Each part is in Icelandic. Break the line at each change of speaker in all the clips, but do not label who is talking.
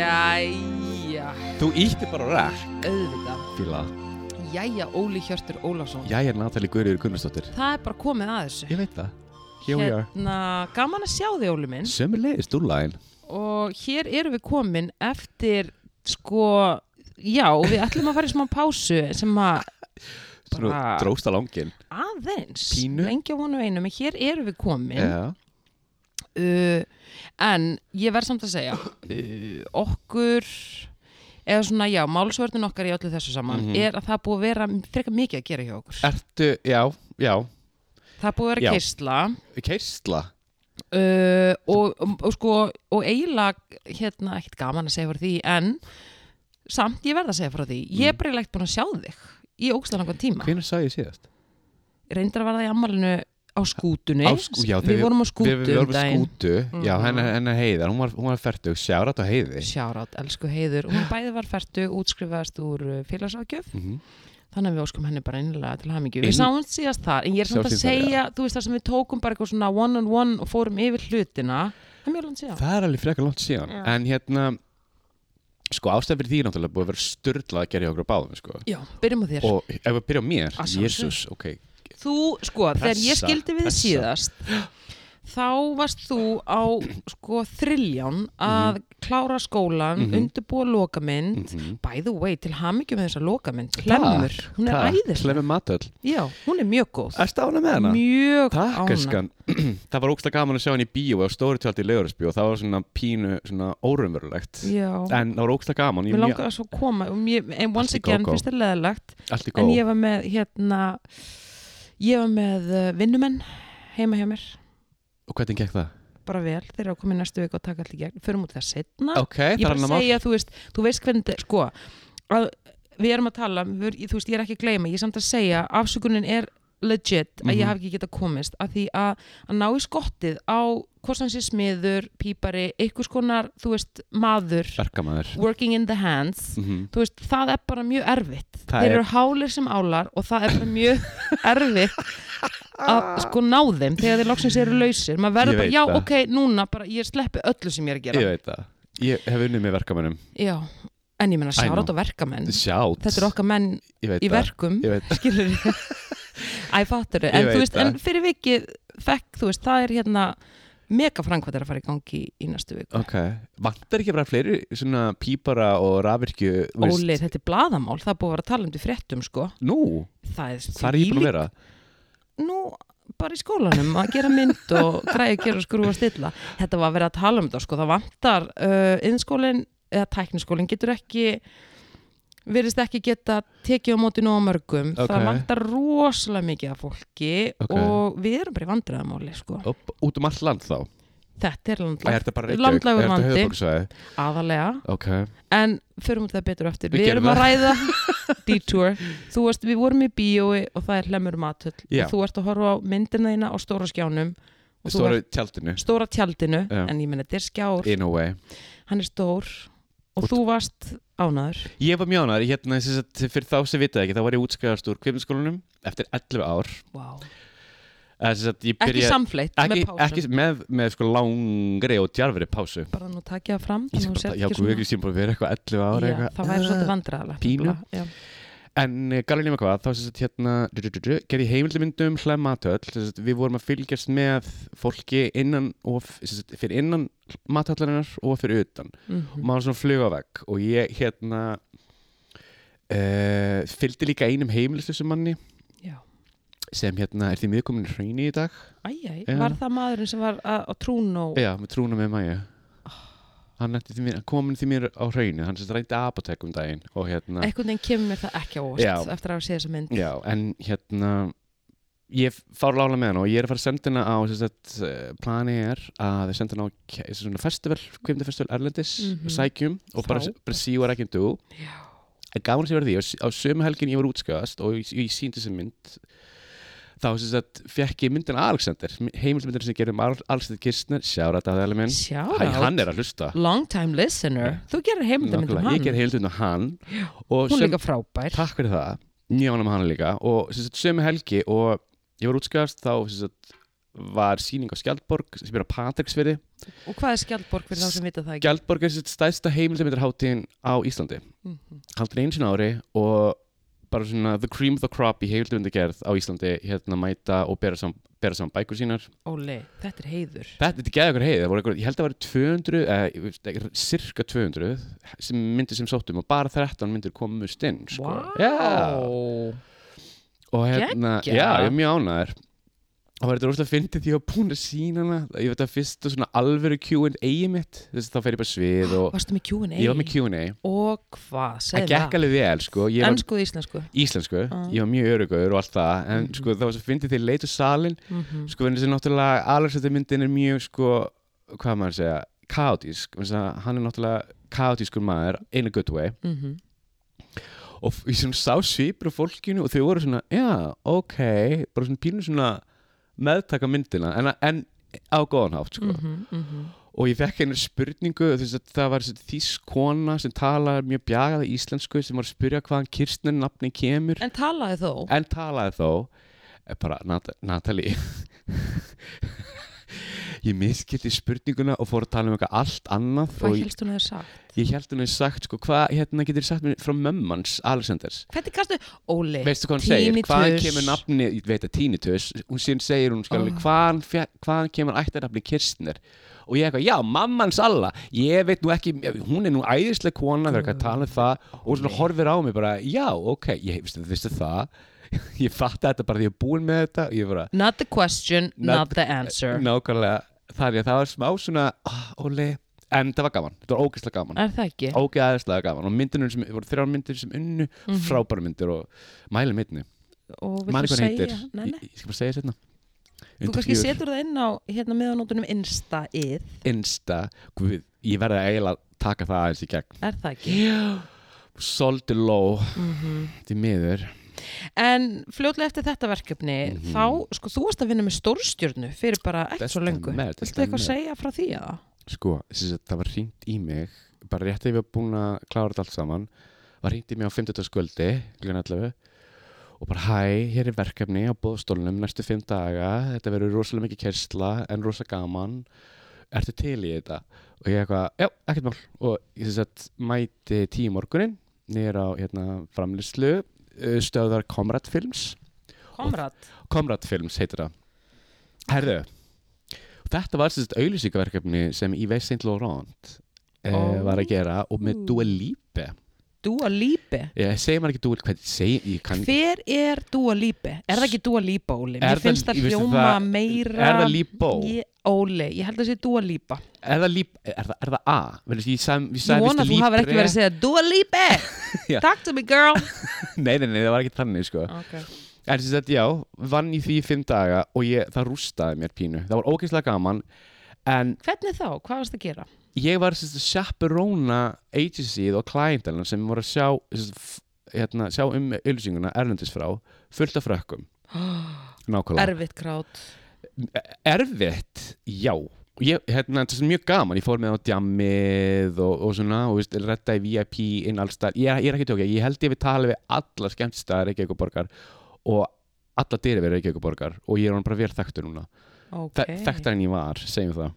Jæja,
Þú ítti bara ræk
auðvitað
Fíla
Jæja, Óli Hjörtur Ólafsson
Jæja, Natalie Guðriður Gunnarsdóttir
Það er bara komið að þessu
Ég veit það Here we are
Hérna, gaman að sjá þig Óli minn
Sömur leiðist úr lægin
Og hér erum við komin eftir sko Já, við ætlum að fara í smá pásu sem að
Svona
Bara-
dróst að langin
aðeins
Pínu.
lengja vonu einum, en hér erum við komin
Já
uh, en ég verð samt að segja uh, okkur eða svona já, málsvörðin okkar í öllu þessu saman
Mhm.
er að það er búið að vera frekar mikið að gera hjá okkur
Ertu, já, já
það er búið að vera
Já.
keisla
Keisla
uh, og, og, og sko og eiginlega, hérna, ekkert gaman að segja frá því en samt ég verð að segja frá því, ég
Mm.
er bara eiginlega ekkert búin að sjá þig í ógstlanangan tíma
Hvenær sá ég síðast?
reyndar að verða í ammálinu á skútunni
Á skú- já,
við
þegar-
vorum á skútu
við, við
um
vorum á
daginn. Mm.
skútu Já, hennar, hennar heiðar, hún var, hún var færtug Sjárat á heiði
Sjárat, elsku heiður hún bæði var færtu, útskrifaðast úr uh, félagsráðgjöf
Mhm.
þannig að við óskum henni bara einlega til hamingju
Inn-
við sáum síðast þar, en ég er samt að
Sjáumst síðar,
segja þú veist það sem við tókum bara eitthvað svona one on one og fórum yfir hlutina það er mjög langt síðan
Það er alveg frekar langt síðan
Já.
En hérna Sko ástæð fyrir því er náttúrulega búið að vera störla að gera hjá okkur á báðum sko.
Já, byrjum á þér
Og ef við byrja á mér
Að sjálfsögðu.
Jésús, ok
Þú, sko, þegar ég
Pressa,
skildi við þig
pressa.
síðast þá varst þú á sko þrilján að
Mhm.
klára skólan, mm -hmm. undirbúa lokamynd by the way, til hamingju með þessa lokamynd Klemmur,
Takk,
hún er
takk.
æðisleg
Klemur matöll
Já, hún er mjög góð
Erstu ána með hana?
Mjög
Takk,
ánægð.
eskan Það var ógstlega gaman að sjá hann í bíó á stóri tjaldi í Leigurisbíó og það var svona pínu svona órumverulegt
Já,
En það var ógstlega gaman ég,
mér langar að svo koma og mér, en once
Allt í
again
gógó.
finnst það leðilegt
Allt í
en
góð
ég var með hérna ég var með uh, vinnumenn heima hjá mér,
Og hvernig gekk það?
bara vel þeir eru að koma í næstu viku og taka allir gegn, förum út það setna
Ok, það
Ah, ég
er
bara
annar mál
segja, þú veist, þú veist hvernig þetta- sko, að við erum að tala um, við, þú veist, ég er ekki að gleyma, ég er samt að segja afsökunin er legit að ég
Mhm.
hafi ekki getað komist að því að, að ná í skottið á hvort hann sé smiður, pípari, einhvers konar, þú veist, maður
Verkamaður
working in the hands
Mhm.
þú veist, það er bara mjög erfitt
Það
þeir
er-
eru hálir sem álar og það er bara mjög erfitt að sko ná þeim þegar þeir loksins eru lausir maður
Ég
verður bara,
veit
já,
það.
ok, núna bara, ég sleppi öllu sem ég er að
Ég
gera
veit það Ég hef unnið með verkamönnum
já, en ég menna
I
sjárat
know.
og verkamenn
Sjátt
Mm. þetta eru okkar menn
Ég veit
í
það
verkum
Ég veit það
skilur þið æ, fattur
Ég
en,
veit
þú veist,
það.
en fyrir vikið fekk, þú veist, það er hérna mega framkvæmt er að fara í gangi í næstu viku
Ok, vantar ekki bara fleiri svona pípara og rafirkju þú veist?
Óli, þetta er blaðamál, það er búið að vera að tala um því fréttum sko,
Nú,
það er
hvað er ég búin að
þvílík
vera?
nú bara í skólanum að gera mynd og græði að gera skrúa stilla þetta var að vera að tala um þetta sko, það vantar uh, innskólin eða tækniskólin getur ekki verðist ekki geta tekið á móti nóg mörgum,
Ok.
það vantar rosalega mikið af fólki
Ok.
og við erum bara í vandræðamáli sko.
Upp, út um allt land þá?
þetta er
Er
landlægt,
þetta bara Reykjavík?
Landlægur
Er
vandi.
þetta höfuborgsvæði?
aðalega
Ok,
en förum út það betur eftir,
Við
við, erum
gerum
að ræða detour, þú veist við vorum í bíói og það er hlemur matöll
Já.
og þú ert að horfa á myndina þína á stóra skjánum og þú
stóra tjaldinu
stóra tjaldinu
Já.
en ég meina þetta er skjár,
In a way
hann er stór og þú varst ánaður
Ég var mjónar, hérna, sem sagt, fyrir þá sem vitað ekki þá var ég útskæðast úr kvimskólanum eftir 11 ár
wow.
Eða, sem sagt, ég
ekki
byrja-
samfleitt
ekki,
með pásum
ekki með, með sko langri og djarfri pásu
bara nú takja það fram
Ég
þannig
skal
að þú
bara,
sért
já,
ekki
guð,
svona-
ekki sem bara verið eitthvað 11 ára
Já,
eitthvað,
það væri svolítið
"Ah."
vandræðalegt
pínu.
nefnilega, já.
En eh, galdur nema hvað, þá sem sagt hérna du- du- du- du, gerði ég heimildamyndum hlæmatöll sem sagt, við vorum að fylgjast með fólki innan og f- sem sagt, fyrir innan matöllarinnar og fyrir utan og
Mhm.
maður svona flug á vegg og ég hérna uh, fylgdi líka einum heimilislisum manni
já.
sem hérna er því miðkomin hreini í dag
Æ, æ,
Já.
var það maðurinn sem var að, að trún og
Já, með trúna með mæja Hann, ætti því mér, hann komin því mér á hreinu hann sem sagt reyndi apotek um daginn og hérna
einhvern veginn kemur mér það ekki á
Já.
óvast eftir að hafa séð þessa mynd
Já, en hérna ég fár lála með hana og ég er að fara að senda hana á sem sagt, eh, planið er að ég senda hana á ke- svona festival, kvimdafestival Erlendis
Mhm.
sækjum og bara,
Frábært.
bara see what I can do
Já.
en gaman sem verði því, á s- á sömu helgin ég var útskjáðast og ég, ég síndi sem mynd þá sem sagt fekk ég myndin Alexander heimilsmyndin sem gerðum Alexander Kirstner sjára þetta að það minn Hæ,
Sjára
hann er að hlusta
long time listener Þú gerir heimildamindum
Nákvæmlega,
hann
ég ger heimilsmyndin hann og
Hún er
sem,
líka frábær
takk fyrir það mjög ánum hann líka og sem sagt sömu helgi og ég var útskjast þá sem sagt var síning á Skjaldborg sem er á Patricksfyrði
Og hvað er Skjaldborg fyrir þá sem vita það ekki?
Gjaldborg er sitt stæðsta heimildamindarháttíðin á Íslandi
Mhm.
Haldur einu sinna ári og bara svona the cream of the crop í heimildamindargerð á Íslandi hérna mæta og bera saman, bera saman bækur sínar
Óli, þetta er heiður
Þetta er geða okkur heið, það voru eitthvað, ég held að það var 200, eh, ég veist ekki, cirka 200 sem myndir sem sóttum og bara 13 myndir komust inn sko.
Vá
Já, og hérna,
Geggjað.
já, ég er mjög ánæður og var þetta rosalega fyndið því að ég var búin að sína hana ég veit að fyrst og svona alvöru Q&A mitt þess að þá fer ég bara á svið og
Varstu með Q&A?
ég var með Q&A
Og hvað,
það
segð
gekk
það
alveg vel sko ég var
Ennskuð íslensku
íslensku,
Ah.
ég var mjög örugur og allt það en
Mhm.
sko það var svo fyndið því leit og salin
mm -hmm.
sko en þessi náttúrulega alveg myndin er mjög sko hvað maður segja, kaotísk vegna þess að hann er náttúrulega kaotískur maður in a good way
Mhm.
og f- ég sem sá svipur á fólkinu og þau voru svona, já, ok bara svona pínu svona meðtaka myndina en, en á góðan hátt sko.
Mm. Mhm.
og ég fekk einu spurningu þess að það var þýsk kona sem talaði mjög bjagaða íslensku sem var að spyrja hvaðan kirstnir nafni kemur
En talaði þó
en talaði þó eh, bara Nat Natalie ég miskilti spurninguna og fór að tala um eitthvað allt annað
Hvað
og ég,
helst hún hefur sagt?
ég held hún hefði sagt sko, hvað hérna getur sagt mér frá mömmans Alexanders
Hvernig kastu? Óli
veistu hvað hún segir,
Tinnitus.
hvaðan kemur nafni ég veit að tínitus, hún síðan segir hún skal,
Oh.
hvaðan, fe- hvaðan kemur ættarnafni kirstnir og ég eitthvað, já, mamman Salla ég veit nú ekki, hún er nú æðislega kona verður eitthvað að tala um það og svona horfir á mig bara, já, ok, ég veistu, veistu það ég fatti þetta bara því ég er búin með þetta og ég bara,
Not the question, not,
Not eh,
the answer
nákvæmlega þannig að það var smá svona, ah, óli en það var gaman, þetta var ógeðslega gaman
Er það ekki?
ógeðslega gaman og myndinur sem, voru þrjár myndir sem unnu, mm
Mhm.
frábæra myndir og mæli myndinni
Og
Man
viltu
hvað
segja?
heitir,
Nei, nei.
Ég, ég skal bara segja sérna
Þú kannski setur það inn á hérna meðanótunum Insta-ið,
Insta, guð, ég verði eiginlega að taka það aðeins í gegn
er það ekki?
Já Soldi ló,
Mhm.
því miður
En fljótlega eftir þetta verkefni,
Mhm.
þá, sko, þú varst að vinna með stórstjörnu fyrir bara ekkert svo
Besta
lengu.
með,
Viltu
besta
eitthvað
með.
segja frá því að það?
Sko, þess að það var hringt í mig bara rétt ef ég var búin að klára þetta allt saman var hringt í mig á 50. skvöldi klukkan 11 og bara hæ, hér er verkefni á bóðstólunum næstu 5 daga, þetta verður rosalega mikið kersla en rosa gaman ertu til í þetta? og ég eitthvað, já, ekkert mál og ég þess að mæti tíu morgunin niður á hérna, framlýslu stöðar Comrade Films
Komrad,
Comrade Films heitir það Herðu Þetta var sérst auðlýsingaverkefni sem Yves Saint Laurent eh,
Ó.
var að gera og með
Ú.
Dua Lipe
Dua Lipe.
Ég segi maður ekki Dua Lipe hvað ég segi, ég kann,
Hver er Dua Lipe? Er það ekki Dua Lipa, Óli?
Er
Mér
það-
finnst það
ég veist að
hljóma
það-
meira...
Er það Lipo?
Ég, Óli, ég held að það sé Dua Lipa.
Er það Lipe? Er það, er það A? Vegna þess að Ég sagði ég
Ég
sagði
vona að
víst
þú hafur ekki verið að segja Dua Lipe!
Já.
Talk to me, girl!
Nei, nei, nei, það var ekki þannig sko
Okay.
En sem sagt, já, vann í því í fimm daga og ég, það rústaði mér pínu Það var ógeðslega gaman En
Hvernig þá? Hvað varst að gera?
ég var sérst að chaperona agencyð og klientelina sem voru að sjá sérst, f- hérna, sjá um auðlýsinguna erlendis frá fullt af frökkum nákvæmlega
Erfitt krát.
erfitt, já ég, hérna, þetta er mjög gaman, ég fór með á djammið og, og svona, og veist, retta í VIP inn allstar, ég, er- ég er ekki tókja ég held ég við tala við alla skemmtistæðar Reykjavíkuborgar og alla dyrir við Reykjavíkuborgar og ég er hann bara vel þekktur núna
Okay.
okay. þekktar en ég var, segjum það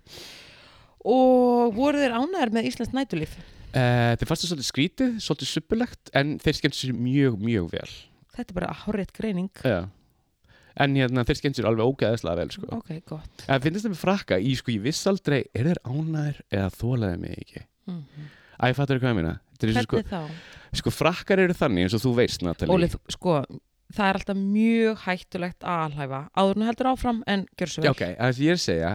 Og voru þeir ánæður með Íslands nætulíf?
Uh, þeir fannst það svolítið skrítið, svolítið suppulegt en þeir skemmt sér mjög, mjög vel
Þetta er bara horrið greining.
Já. en hérna, þeir skemmt sér alveg ógeðislega vel sko.
Ok, gott.
en finnst þeim frakka, ég, sko, ég viss aldrei er þeir ánæður eða þólaði mig ekki Æ, fattur hvað ég meina Þetta er eins og sko,
Mhm. Hvernig þá?
sko, frakkar eru þannig eins og þú veist, Natalie
Ólið, sko, það er alltaf mjög hættulegt að alhæfa. Áður en heldur áfram, en gjör svo vel.
Já, ok, það sem ég er að segja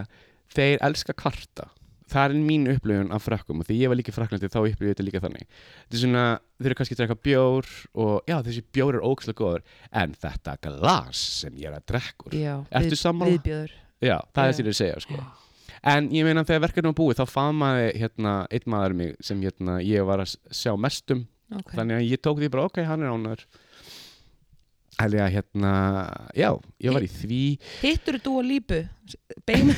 þeir elska karta það er mín upplöfun af frakkum og því ég var líka í fraklandi þá upplöfum ég þetta líka þannig þetta er svona, þeir eru kannski að drekka bjór og já, þessi bjór er ókslega góður en þetta glas sem ég er að drekka úr
Já,
Ertu
við-
sammála?
Viðbjöður.
já,
Já.
það er þessi að segja sko. en ég meina þegar verkefni var búið þá famaði hérna, einn maður mig sem hérna, ég var að s- sjá mestum
Ok.
þannig að ég tók því bara ok, hann er ánæður Þannig að hérna, já, ég var í því
Hittur þú að lípu? Beima,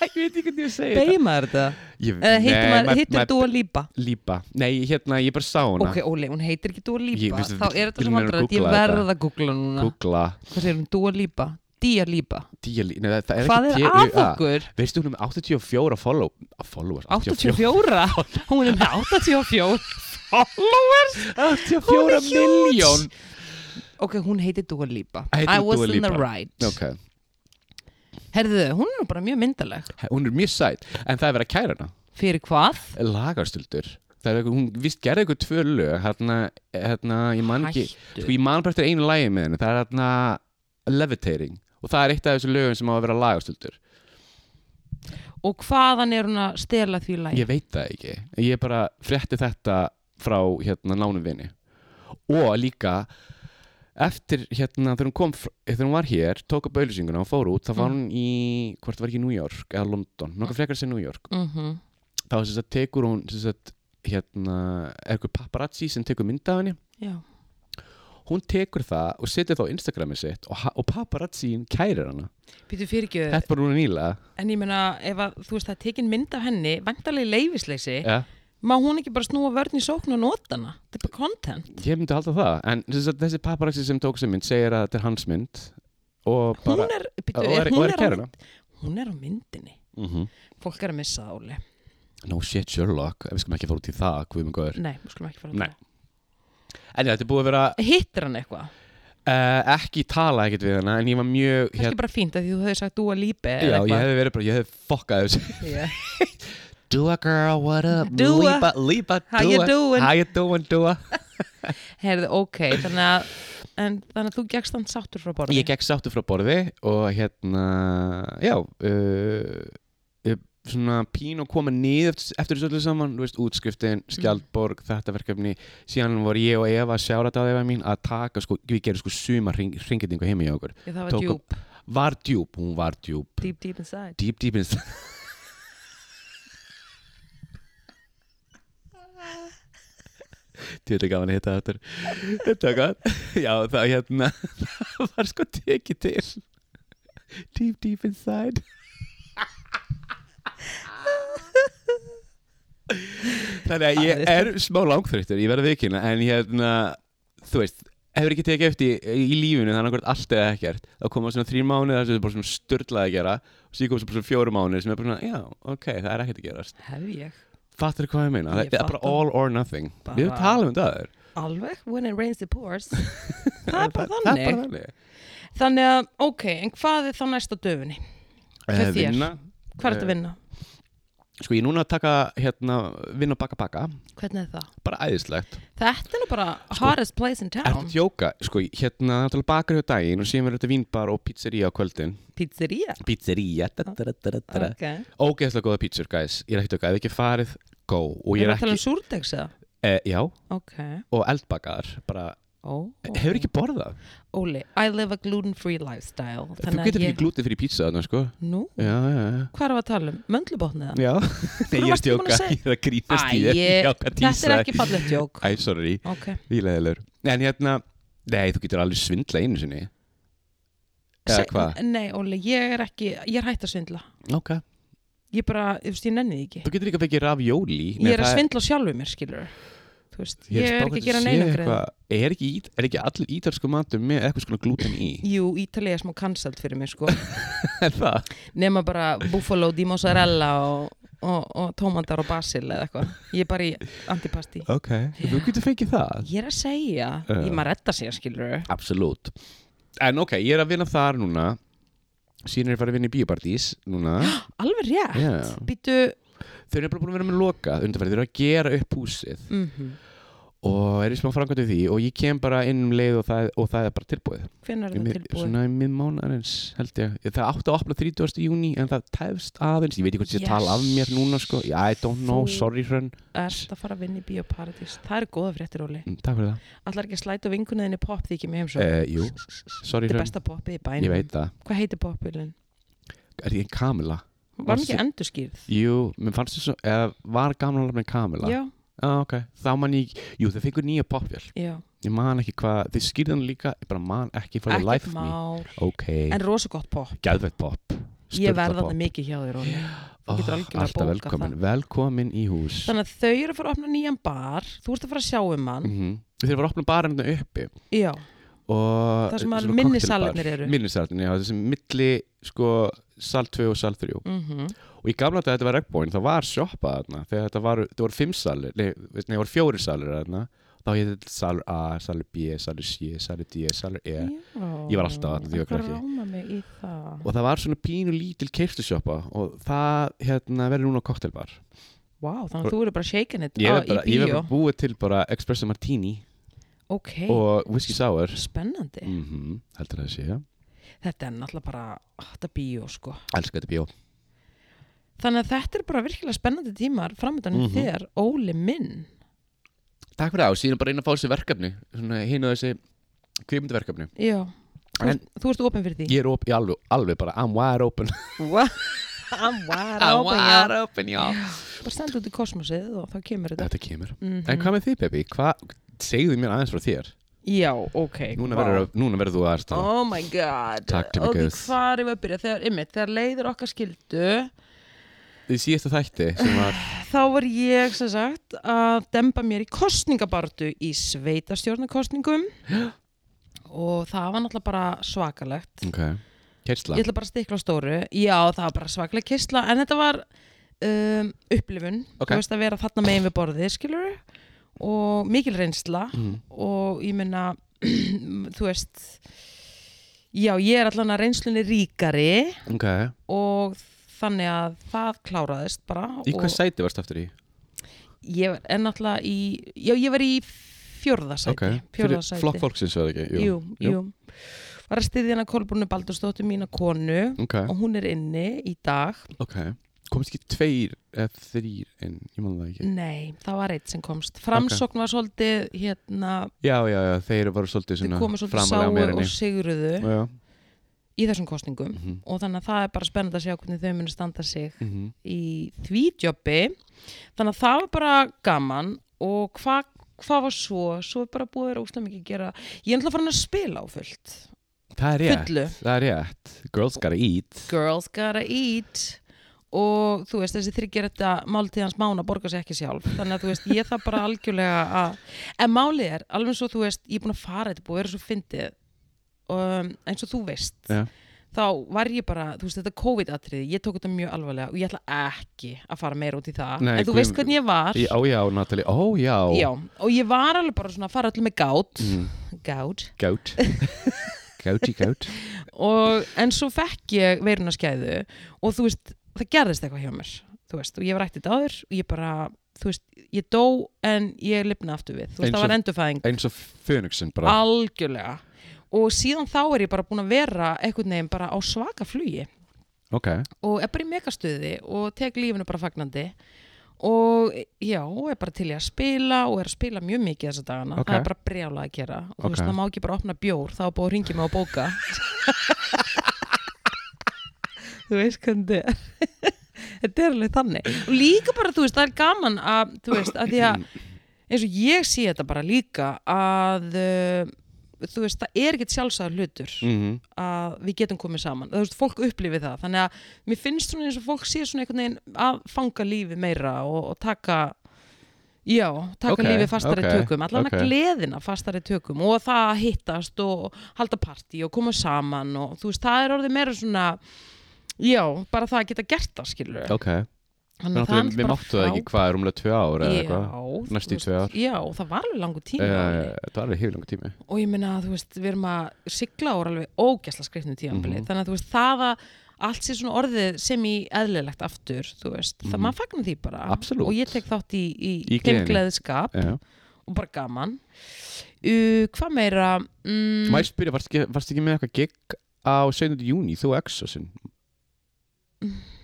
Ég veit ekki hvernig ég segi
beimaður þetta?
Ég,
Eða Eh, hittir,
nei,
maður,
maður-
hittir
maður-
þú að lípa?
Lípa, nei, hérna, ég bara sá hana
Ok, Óli, hún heitir ekki Dua
Ég-
Lipa
veistu,
Þá er þetta
við
svo
erum að
vandrætt, ég
googla þetta.
verð að googla núna
Googla,
Hvað segir hún, Dua Lipa? Dia Lipa
díali Nei, það, það er
Hvað er
ekki D-
að
A.
okkur?
Veistu, hún er með 84 follow, followers
84 Hún er með 84 followers
84
huge.
miljón
Ok, hún heitir Dua Lipa I
Heitir
was
Dua
in the
Lipa.
right
Ok,
Herðu, hún er nú bara mjög myndaleg
hún er mjög sætt En það er verið að kæra hana
Fyrir hvað?
Lagarstöldur Það er eitthvað, hún vist gerði eitthvað tvö lög Hérna, hérna, ég man ekki
Hættu.
Sko, ég man bara eftir einu lagi með henni Það er hérna Levitating Og það er eitt af þessu lögum sem á að vera lagarstöldur
Og hvaðan er hún að stela því læg?
Ég veit það ekki Ég bara frétti þetta frá hérna nánum vini Og líka Eftir hérna þegar hún kom fr- Þegar hún var hér, tók upp auðlýsinguna og fór út Það var
Mm.
hún í, hvort var ekki í New York Eða London, nokkuð frekar sem New York
Mm -hmm.
Þá sem sagt tekur hún sem sagt, Hérna, er eitthvað paparazzi Sem tekur mynd af henni
Já
Hún tekur það og setur það á Instagrami sitt Og, ha- og paparazzin kærir hana
Býtu fyrir ekki,
Þetta var núna nýlega
en ég meina ef að, þú veist það er tekin mynd af henni, vantarlega leifisleisi,
ja.
má hún ekki bara snúa vörn í sókn og nota hana? Þetta er bara content.
Ég myndi halda það En sem sagt, þessi paparazzi sem tók sem mynd segir að þetta er hans mynd Og bara
hún er,
Og
byrju,
er,
hún,
og er
er
kæruna
á, hún er á myndinni
mm
fólk er að missa það Óli
No shit Sherlock, við skulum ekki fara út í það hvað við mjög góður
nei, við skulum ekki fara
Nei.
að
En já, þetta er búið að vera
það hittir hann eitthvað,
uh, ekki tala ekkert við hana En ég var mjög
kannski
hér,
bara fínt að því þú hefði sagt dúa lípi
Já, ég hefði verið bara, ég hefði fokkað þessu
yeah.
Dua girl, what up,
Dua.
Lípa, Lípa,
How you doing?
How you doing, Dua
Herði, ok, þannig að en, þannig að þú gegst hann sáttur frá borði
Ég gekk sáttu frá borði og hérna, já uh, eh, svona pín og koma niður eftir, eftir þessu öllu saman, þú veist, útskriftin Skjaldborg, þetta verkefni, síðan var ég og Eva, sjárat að Eva mín að taka, sko, við gerum sko sumar hring, hringitingu heima hjá okkur,
Ég, það var
tók upp-
djúb,
var djúb, hún var djúb
deep deep inside
deep deep inside Þetta er gaman að hitta þetta Þetta er gaman Já það hérna Það var sko tekið til Deep deep inside Þannig að ég er smá langþreyttur Ég verði vikina En hérna Þú veist Hefur ekki tekið eftir í- í lífinu þannig að allt eða ekkert þá koma svona þrír mánuðir þar sem er bara svona störtlað að gera og síðan koma svo bara svona fjóru mánuðir sem er bara svona já, ok, það er ekkert að gerast
hef ég,
Fattar hvað ég meina?
Ég
Það er bara
fatta.
all or nothing
Bara-
Við talum um það þér
alveg when it rains it pours það er bara
Það er bara
þannig
þannig
þannig að, ok, en hvað er þá næst á döfunni? Hjá
Eh,
þér.
vinna.
hvað er þetta að
Eh,
vinna?
Sko ég er núna að taka hérna vinna og baka baka
hvernig er það?
Bara æðislegt
þetta er nú bara
Sko,
hardest place in
Ertu
town
tjóka? Sko hérna náttúrulega bakar hjá daginn og síðan verður þetta vínbar og pizzería á kvöldin
pizzeria
Pizzería da, da, da, da, da, da.
okay.
Ógeðslega góða pizzur guys Ég er ekki tjóka, ef ekki farið Go Og ég
Erum við að
er
tala
ekki
um súrdegsa?
eh, Já,
Ok.
og eldbakaðar Bara,
Oh,
Eh, hefur ekki borðað
Óli, I live a gluten-free lifestyle.
Þú getur ekki glútið fyrir pizza þarna sko
Nú,
Já, já, já
hvað erum við að tala um? Möndlubotnið það?
Já,
Þú
nei, ég er
varst ekki búin að
stjóka,
segja-
ég er að grínast í þér Ég ákvað að
þetta er
tísa.
ekki fallegt jók.
Æ, sorry,
Ok.
výleðilegur En hérna, nei, þú getur alveg svindla einu sinni Eða
Se-
hvað?
Nei, Óli, ég er ekki, ég er hægt að svindla.
Ok
Ég bara, þú veist, ég nenni því ekki.
Þú getur líka fengið rafjóli
Ég er að svindla sjálfu mér, skilur. Þú veist, ég er ekki að gera neina greið.
Er ekki, ít, er ekki allir ítalsku matur með eitthvað skona glúten í?
Jú, Ítalið er smá cancelled fyrir mér, sko.
er það?
Nema bara buffalo di mozzarella og, og, og tómandar og basil eða eitthvað. Ég er bara í antipasti.
Ok, þú getur fengið það
Ég er að segja,
Já.
ég maður retta sér, skilur.
Absolutt En ok, ég er að vinna þar núna Síðan er ég að fara að vinna í Bíobardís núna
Alveg rétt.
Já.
Býtu,
Þau eru bara búin að vera með loka undanfæri Þau eru að gera upp húsið
mm
og er í smá framkvæmt við því og ég kem bara inn um leið og það, og það er bara tilbúið,
hvenær er
Í
það
mið-
tilbúið?
svona í miðmánarins held ég, það átti að opna 30. júni en það tæfst aðeins, ég veit ekki hvort ég yes. tala af mér núna sko, I don't know,
Þú-
sorry hrönn,
Erst að fara að vinna í Bíóparadís. Það eru góða fréttir, Óli.
Mm, takk fyrir það
Allar ekki að slæta vingunniðinni pop því ekki með heimsók.
uh, Jú,
Þetta er
sorry hrönn,
besta popið í bænum.
ég veit það
Hvað heitir popilin?
Er ég Kamila?
Var hún
Varstu-
ekki endurskýrð?
Jú, mér fannst þess að, eða var gamla lafni Kamila?
Já,
Ah, ok, þá man ég, jú þau fengur nýja popfjöl
já.
ég man ekki hvað, þið skýrði hann líka ég bara man ekki for the life
ekkert
of me
mál,
ok,
en rosa gott pop
gæðveitt pop
ég
sturlað
verða
pop.
þarna mikið hjá þér Óli.
Ó,
getur algjörlega
alltaf
bókað
velkomin, velkomin í hús
þannig að þau eru að fara að opna nýjan bar þú ert að fara að sjá um hann
Mhm. þeir voru að opna barinn þarna uppi
já,
og
það sem að
svona
minni
cocktailbar.
salarnir eru
minnisalarnir, já, þessi milli sko sal 2 og sal 3
Mhm.
og í gamla dag þetta var regnbóin, það var sjoppa þarna, þegar þetta var, þetta voru fimm salir nei, veist, nei, voru fjóri salir þarna þá hétt þetta salur A, salur B, salur C salur D, salur E Ég var alltaf þarna þegar ég var
Akkur
krakki.
ráma mig í það
og það var svona pínu lítil keiftusjoppa og það hérna verður núna koktelbar
Vá, þannig að þú eru bara shaken it
ég
á,
verð bara,
í
ég verð
bíó
bara búið til bara espresso martini
Ok,
og whisky sour
spennandi
mm heldur það að sé,
Þetta er náttúrulega bara, ó, þetta er bíó sko
elskar þetta bjó
Þannig að þetta er bara virkilega spennandi tímar framöndan mm
Mhm.
þér, Óli minn
takk fyrir það og síðan bara einn að fá þessi verkefni svona hinn og þessi kvipmyndaverkefni
Já, þú,
En-
þú ert opinn fyrir því
ég er op, ég alveg, alveg bara, I'm wide open
Wow. I'm wide
I'm
open, já.
wide open, já
Bara stend út í kosmosið og þá kemur þetta
Þetta kemur
Mhm.
En hvað með þið, Peppi? Hvað, segðu mér aðeins frá þér
Já, ok
Núna
vá.
verður, núna verður þú aðeins oh.
Oh my god
Takk til mig,
Ok,
guðs.
hvar erum við að byrja? Þegar, ymmit, þegar leiðir okkar skildu
Því síðasta þætti sem var
þá var ég sem sagt að demba mér í kostningabartu í sveitastjórnarkostningum og það var náttúrulega bara svakalegt
Ok Kersla
ég ætla bara að stikla á stóru já það var bara svakaleg kistla en þetta var um, upplifun
Ok.
þú veist að vera þarna megin við borðið skilur og mikil reynsla
mm.
og ég meina þú veist já ég er allan að reynslunni ríkari
Ok
og þannig að það kláraðist bara
Í
og-
hvað sæti varst aftur í?
Ég var- er náttúrulega í, já ég var í fjörðasæti,
Ok
okay.
Fyrir
fjörðasæti.
Flokk fólksins verður ekki
jú, jú.
jú.
Var að styðja hana Kolbrúnu Baldursdóttir mína konu
Ok
og hún er inni í dag.
Ok Komist ekki tveir eða þrýr inn Ég man það ekki
Nei, það var eitt sem komst. Framsókn var svolítið, hérna,
Já, já, já Þeir voru svolítið
þau
svona
komu svolítið
framarlega meira
sáu
en
og
ég.
sigruðu
Já
í þessum kostningum
Mhm.
og þannig að það er bara spennandi að sjá hvernig þau munu standa sig
Mhm.
í því jobbi. Þannig að það var bara gaman og hvað hva var svo? Svo er bara búið að vera úslega mikið að gera. Ég er náttúrulega farin að spila á fullt.
Það er rétt
fullu
Það er rétt Girls gotta eat
Girls gotta eat og þú veist þessi þryggir þetta máltíð hans mána borgar sér ekki sjálf þannig að þú veist ég það bara algjörlega að en málið er alveg svo þú veist ég er búin að fara þetta er búin að vera svo fyndið um, eins og þú veist
Já.
þá var ég bara þú veist þetta COVID-atriði ég tók þetta mjög alvarlega og ég ætla ekki að fara meira út í það
Nei,
en þú
guð-
veist hvernig ég var
Í- Ó já, Natalie Ó já
Já, og ég var alveg bara svona að fara allir með gát
Mhm.
gát
Goat Goaty goat
og, en svo fekk ég veirunaskæðu og þú veist, það gerðist eitthvað hjá mér þú veist, og ég var ættið áður og ég bara, þú veist, ég dó en ég lifna aftur við, þú veist,
Eins
það var
og-
endurfæðing
Eins og Fönixin
Ah.
bara
algjörlega og síðan þá er ég bara búin að vera einhvern veginn bara á svaka flugi
Ok
og er bara í megastuði og tek lífinu bara fagnandi og já, og er bara til í að spila og er að spila mjög mikið þessa dagana
Ok.
það er bara brjálað að gera og þú veist,
Ok.
það má ekki bara opna bjór, þá er búið að ringi mig og bóka þú veist hvernig þetta er þetta er alveg þannig og líka bara, þú veist, það er gaman að þú veist, að því að eins og ég sé þetta bara líka að uh, þú veist, það er ekkert sjálfsagður hlutur
mm
að við getum komið saman þú veist, fólk upplifið það þannig að mér finnst svona eins og fólk sé svona einhvern veginn að fanga lífið meira og, og taka já, taka
Ok,
lífið fastari
ok,
tökum allan
ok.
að gleðina fastari tökum og það að hittast og halda partí og koma saman og þú veist, það er orðið meira svona já, bara það að geta gert það skilur
Ok
Mm.
Þannig, Við máttu það ekki hvað er umlega tvö ár eða
já,
eitthvað
þú
Næstu í
veist,
tvö ár.
já, það var alveg langur tíma
Eh,
uh,
Það var alveg hefur langar tími
og ég meina að þú veist, við erum að sigla úr alveg ógæsla skrifnum tíðanbili
Mhm.
þannig að þú veist, það að allt sé svona orðið sem í eðlilegt aftur, þú veist það
Mhm.
maður fagnar því bara
Absolút.
og ég tek þátt í, í, þeim
Í gleðinni.
gleðskap
yeah.
og bara gaman uh, hvað meira mm,
Má ég spyrja, varst ekki, varst ekki með eitthvað gig á 17. júni, þú og Exosin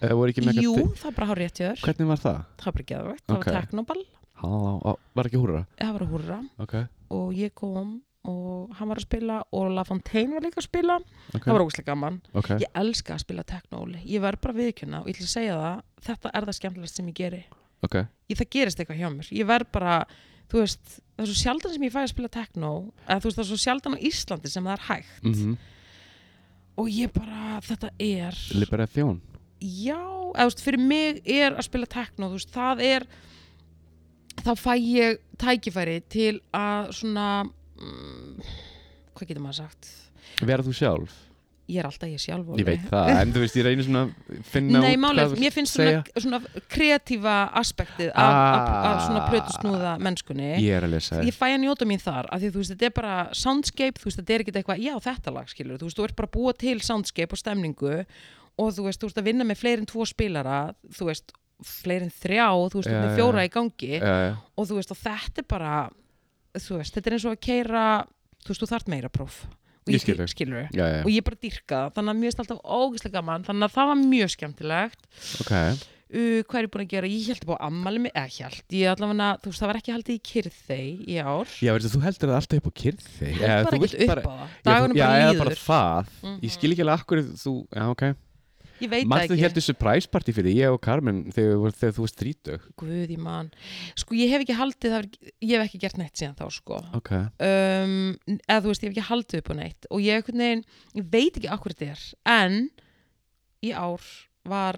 Eða voru ekki með
Mm. jú,
eitthvað
það er bara hár rétt hjör
Hvernig var það?
það er bara geðvægt, það
Ok.
var teknoball
Halló, á, var ekki húra?
það var að húrra
Ok,
og ég kom og hann var að spila og La Fontaine var líka að spila
ok,
það var ógæslega gaman
ok
Ég elska að spila teknóli, ég verð bara viðkjöna og ég ætla að segja það, þetta er það skemmtilegast sem ég geri.
ok
Ég, það gerist eitthvað hjá mér, ég verð bara, þú veist, það er svo sjaldan sem ég fæ að spila techno eða þú veist, það er svo sjaldan á Íslandi sem það er hægt
mm -hmm.
og ég bara, þetta er
Libera þjón
já, eða þú veist, fyrir mig er að spila techno, þú veist, það er þá fæ ég tækifæri til að svona mm, hvað getur maður sagt
Verða þú sjálf?
ég er alltaf ég sjálf
Ég
Óli.
veit það, en þú veist, ég reynir svona að finna
Nei,
út
málið,
hvað þú
mér finnst
segja. Ah.
svona, svona kreatífa aspektið af, af, af svona plötusnúða mennskunni
Ég er að lesa
ég fæ að njóta mín þar af því þú veist, þetta er bara soundscape þú veist, þetta er ekkert eitthvað, já þetta lag skilur þú veist, þú ert bara að búa til soundscape og stemningu og þú veist, þú ert að vinna með fleiri en tvo spilara þú veist, fleiri en þrjá þú veist,
Já,
þetta
já,
er
já.
fjóra í gangi
uh,
og þú veist, og þetta er bara þú veist, þetta er eins og að keira þú veist, þú þart meira próf og
Ég skil þig.
skilur
Já, já,
og ég bara dýrka það þannig að mér finnst alltaf ógeðslega gaman þannig að það var mjög skemmtilegt
ok
uh, hvað er ég búin að gera, ég held að búið að ammali mig eða held, ég allavega, þú veist, það var ekki haldið í kyrþei í ár
Já, veistu, þú heldur það alltaf upp á kyrði
held bara ekkert upp á það, dagunum
já,
bara
eða
líður
bara það Ég skil ekki alveg akkur þú, já, ok
ég veit það
Marstu
ekki,
heldur surprise party fyrir ég og Carmen þegar, þegar, þegar þú varst þrítug
guð í mann sko, ég hef ekki haldið, það, var- ég hef ekki gert neitt síðan þá, sko
Ok,
um, eða þú veist, ég hef ekki haldið upp á neitt og ég, einhvern veginn, ég veit ekki akkur þetta er, en í ár var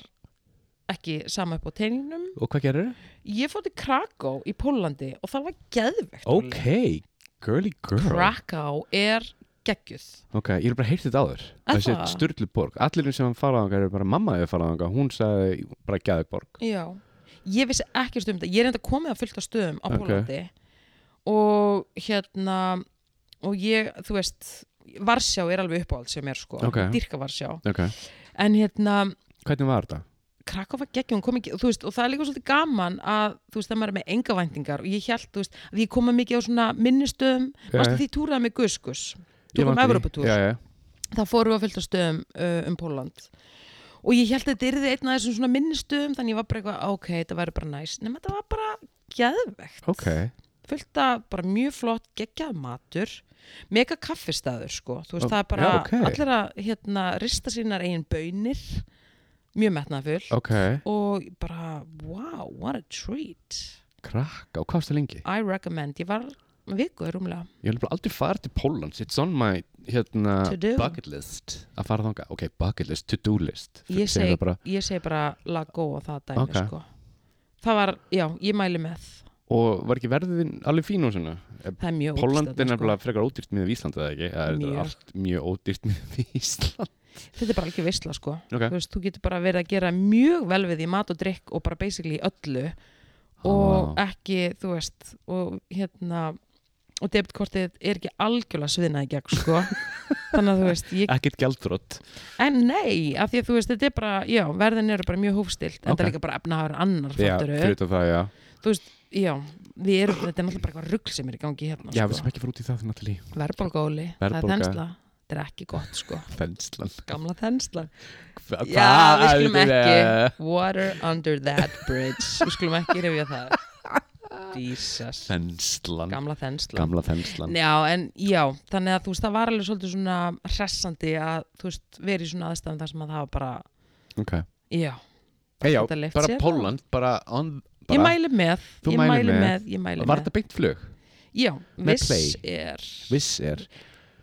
ekki sama upp á teiningnum
og hvað gerir þau?
ég fór til Kraká í Pólandi og það var geðvegt Óli.
Ok, girly girl
Kraká er geggjuð
Ok, ég er bara heyrt þetta áður
Er
Þessi
það?
styrlu borg, allir sem hann farað þangað eru bara mamma hefur farað þangað, hún sagði bara gæði borg
já, ég vissi ekki um þetta ég er enda komið að fullta stöðum á
Ok.
Pólandi og hérna og ég, þú veist Varsjá er alveg uppáhald sem er sko
Ok.
dyrka Varsjá,
Ok,
en hérna
hvernig var þetta?
Krakow var geggjum, kom ekki, þú veist, og það er líka svolítið gaman að, þú veist, það maður er með enga væntingar og ég held, þú veist, að ég koma mikið á svona minnistöðum,
Já,
mástu
já.
því túraði með Guskus,
Eh. Ég
tókum
man eftir því.
Evropatúr,
Já, já,
það fórum við að fylgta stöðum uh, um Póland og ég held að þetta yrði einn af þessum svona minnistöðum, þannig ég var bara eitthvað, ok, þetta væri bara næs, nema þetta var bara geðvegt,
ok
fylgta bara mjög flott, geggjað matur, mega kaffistæður, sko, þú veist,
Ó,
það er bara
já, ok.
allir að, hérna, rista sínar eigin bönir, mjög metnafull
Ok,
og ég bara, wow, what a treat
krakka, og hvað varstu lengi?
I recommend, ég var viku rúmlega
Ég hef bara aldrei farið til Pólans It's on my hérna,
To do.
bucket list Að fara þangað, ok, bucket list, to do list F-
ég
segir
segi,
það bara,
ég segi bara la go á það dæmi
Ok.
sko. það var, já, ég mæli með
Og var ekki verðin alveg fín og svona
það er mjög ódýrt
Póland er
þarna,
nefnilega frekar ódýrt miðað við Ísland eða ekki, það er
sko. Mjög.
mjög. allt mjög ódýrt miðað við Ísland
sko. þetta er bara ekki visla sko.
Ok.
þú, veist, þú getur bara verið að gera mjög vel við í mat og drikk og bara basically í öllu og
Vá.
ekki, þú veist og hérna og debitkortið er ekki algjörlega sviðnað í gegn sko. þannig að þú veist ég
Ekkert gjaldþrótt
En nei, af því að þú veist, þetta er bara, já, verðin eru bara mjög hófstilt, en það er
Ok.
líka bara efnaður annar
Já,
fatturu.
fyrir þetta það, já
Þú veist, já, við erum, þetta er náttúrulega bara eitthvað rugg sem er í gangi hérna,
Já, við sem
sko.
ekki fara út í það, Natalie
Verðbólgóli, það er
Verðbólga.
þensla, þetta er ekki gott, sko.
Þenslan
Gamla þensla.
Hva-
Já,
hvað
við skulum
er þetta?
ekki, water under that bridge, við skulum ekki rifja það. Jesus,
Þenslan,
gamla þensla.
gamla þenslan
Já, en já, þannig að þú veist, það var alveg svolítið svona hressandi að, þú veist, verið í svona aðstæðum þar sem að það var bara,
Ok,
já,
hey, já,
Þetta leyft
bara
sér það.
Póland, bara, on,
Ég
bara
mæli með,
Þú
ég
mælir
mæli með,
með.
ég mæli
Var
með.
þetta beint flug?
Já,
með
viss
Play?
er,
Viss er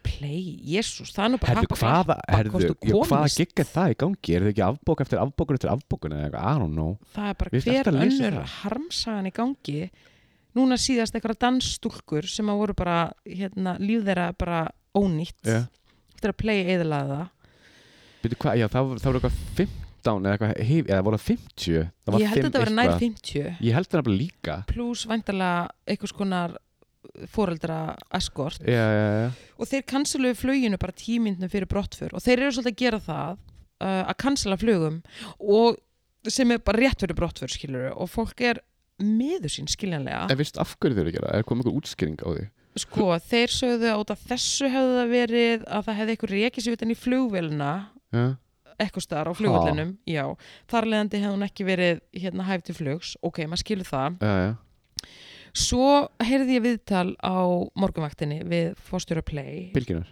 play, jésús, það er nú bara
Herðu,
happ-
hvaða,
happ-
herðu,
hvort þú
já, hvaða
komist.
gigg er það í gangi? Er þau ekki afbók eftir afbókun eftir afbókun eða eitthvað? I don't know.
Það er bara
Ég veist
hver
alltaf að lesa
önnur
það.
harmsagan í gangi Núna síðast eitthvað dansstúlkur sem að voru bara, hérna, líf þeirra bara ónýtt
Já.
Eftir að play eðalaða það
Býtu hvað, já, það, það voru eitthvað 15 eða eitthvað, hef, eða voru það 50? Það var
Ég held að
fimm
þetta verið nær
eitthvað.
50
Ég held það nefnilega líka.
Plus væntalega einhvers konar fóreldra eskort
Já, já, já.
og þeir canceluðu fluginu bara tímyndinu fyrir brottför og þeir eru svolítið að gera það uh, að cancela flugum og sem er bara rétt fyrir brottför skilur og fólk er miður sín skiljanlega
En veist af hverju þau eru að gera? það? Er komið einhver útskýring á því?
sko þeir sögðu að út af þessu hefði það verið að það hefði eitthvað rekið sér utan í flugvélina
Já,
eitthvað staðar á flugvölinum já, þar leðandi hefði hún ekki verið hérna hæf til flugs, ok, maður skilur það
já, já.
svo heyrði ég viðtal á morgunvaktinni við fórstjóra Play
Bylginar.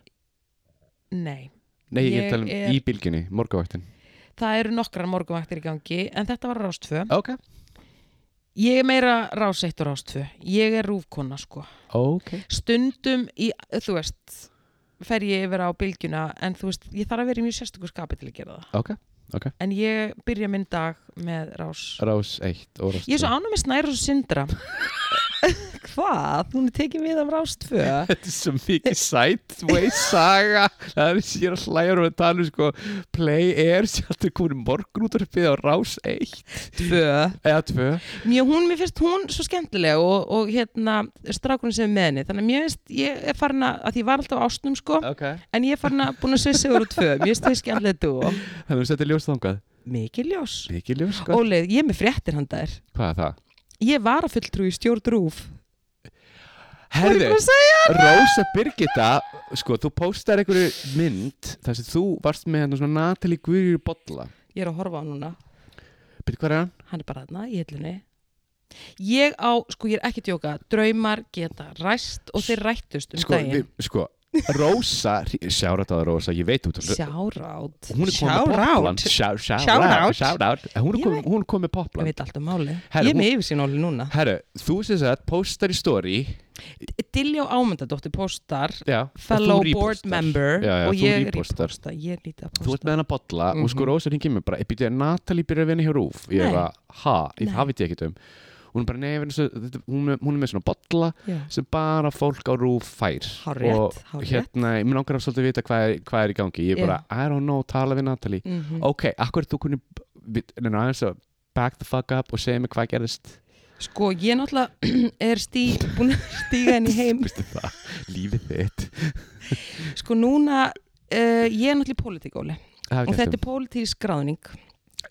nei,
Nei, ég,
Ég
ég tala um
er-
í bylginni, morgavaktin.
það eru nokkrar morgunvaktir í gangi en þetta var rástfö
Ok.
Ég er meira rás eitt og rás tvö. Ég er rúfkona, sko.
ok
Stundum í, þú veist, fer ég yfir á bylgjuna, en þú veist, ég þarf að vera í mjög sérstöku skapi til að gera það.
ok, ok,
En ég byrja minn dag með rás.
rás 1 og rás
Ég er svo ánum með Snærós Sindra. Hvað? Hún er tekið við af rás tvö.
Þetta er svo mikið sideways saga Það er ég er að hlæja og að tala um sko Play Air, sjáttu komin morgunútarpið á Rás 1
Tvö.
eða 2
Mér, hún, mér finnst hún svo skemmtileg og, og hérna strákurinn sem er með henni þannig að mér finnst, ég er farin að, að ég var alltaf á ástnum sko,
Ok
en ég er farin að búin að sveisa úr úr tvö, mér finnst þau skemmtileg þú
Þannig að þetta er ljós þangað
mikið ljós,
Mikið ljós sko
óleið, ég er með fréttir hann þær,
Hvað er það?
ég var að fulltrú í stjórnrúf Var ég
Herðu,
búin að segja?
Rósa Birgitta Sko, þú póstar einhverju mynd Þar sem þú varst með hérna svona Natalie Guðjur Bolla
Ég er að horfa á hann núna,
Byrðu hvað er hann?
hann er bara þarna í hillunni ég á, sko ég er ekki að djóka draumar geta ræst og þeir rættust um
Sko,
daginn,
við- sko Rósa, sjáratáður Rósa, ég veit út hún
sjárátt
Hún er komin með poplan Shout
Shoutout.
out Shout out Hún er
Ég
komin-
veit.
hún er komin með poplan
Ég veit allt um máli,
Herra,
ég er
hún-
með yfirsýn óli núna
Herru, þú sem sagt, postar í story
Diljá Ámyndadóttir postar
já, og
fellow
þú
board
repostar.
member
já, já,
og
þú
ég
repostar.
reposta, ég lítið að
Þú ert
posta
með hennar bolla og sko
Mhm.
Rósa hringir mér bara, ég býtti að Natalie byrja að vinna hjá Rúf Ég
Nei.
er að, ha, ég,
Nei.
það veit ég ekkert um Hún er bara, nei, vegna þess að þetta- hún er, hún er með svona bolla
Já.
sem bara fólk á Rúf fær
Hárrétt,
Og
hárrétt.
hérna, ég mér langar að svolítið vita hvað er, hvað er í gangi Ég er bara, I don't know, tala við Natalie
Mhm.
Ok, akkur er þú kunni, neina aðeins að back the fuck up og segja mér hvað gerðist
Sko, ég náttúrulega er stí, búin að stíga henni heim
Vistu það, lífið þitt
Sko, núna, uh, ég er náttúrulega í pólitíkóli
Það
og þetta
er
er pólitísk gráðning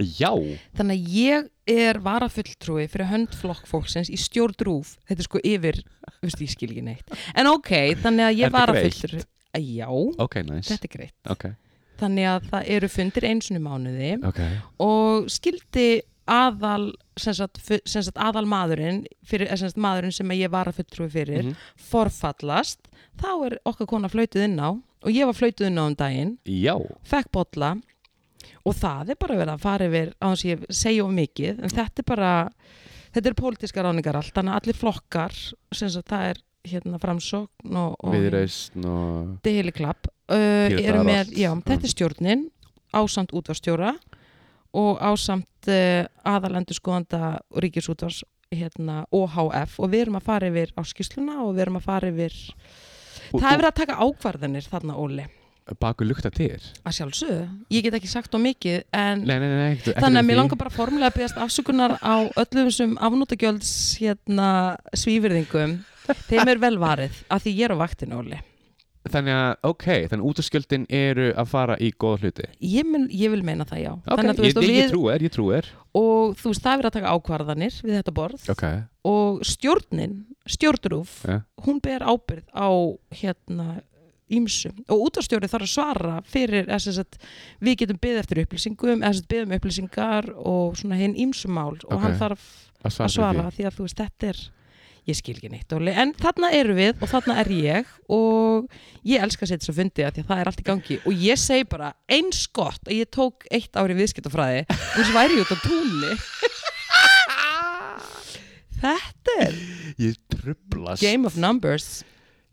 Já,
Þannig að ég er varafulltrúi fyrir hönd flokkfólksins í stjórnrúf Þetta er sko yfir, veist, ég skil ekki neitt En ok, þannig að
Er
ég
þetta
varafulltrúi Já,
ok, nice
þetta er greitt
Ok,
Þannig að það eru fundir einsunum mánuði
ok
og skildi aðal sem sagt, fu- sem sagt aðal maðurinn fyrir, eh, sem sagt maðurinn sem ég var að fulltrúi fyrir
Mhm.
forfallast þá er okkar kona flöytuð inn á og ég var flöytuð inn á um daginn
Já,
fekk bolla og það er bara verið að fara yfir á þess að ég segja of mikið en þetta er bara þetta er pólitíska ráningar allt þannig að allir flokkar sem sagt það er hérna framsókn og, og
viðreist og
Þetta er heili klapp uh,
Píratar
eru með,
allt. Mm.
já, Þetta er stjórnin ásamt útvarstjóra og ásamt uh, aðalendur skoðanda ríkisútvars hérna, OHF og við erum að fara yfir áskýsluna og við erum að fara yfir Það er verið að taka ákvarðanir þarna Óli
baku lukta til
að sjálfsögðu, ég get ekki sagt á mikið en
nei, nei, nei, ekkert, ekkert
þannig
um
að mér
því.
langar bara formulega að byggjast afsökunar á öllum sem afnótagjölds hérna, svífyrðingum þeim er vel varið að því ég er á vaktin Óli
þannig að, ok, þannig að útaskjöldin eru að fara í góða hluti
Ég, mun, ég vil meina það já
ok,
Þannig að þú veist,
ég,
og
ég,
við,
ég trú er, ég trú er
og þú veist það er verið að taka ákvarðanir við þetta borð
ok,
og stjórnin, stjórnrúf
Ja.
hún ber ábyrð á hérna ímsum og útastjóri þarf að svara fyrir eða sem sagt, við getum byggð eftir upplýsingum eða sem sagt, beðið um upplýsingar og svona hinn ímsum mál og
Ok.
hann þarf
að svara,
að svara því að þú veist þetta er ég skil ekki neitt Óli, en þarna eru við og þarna er ég og ég elska að setja svo fundi að því að það er allt í gangi og ég segi bara eins gott að ég tók eitt ári viðskiptafræði og þess væri ég út á túnni þetta er
því ég trublast
game of numbers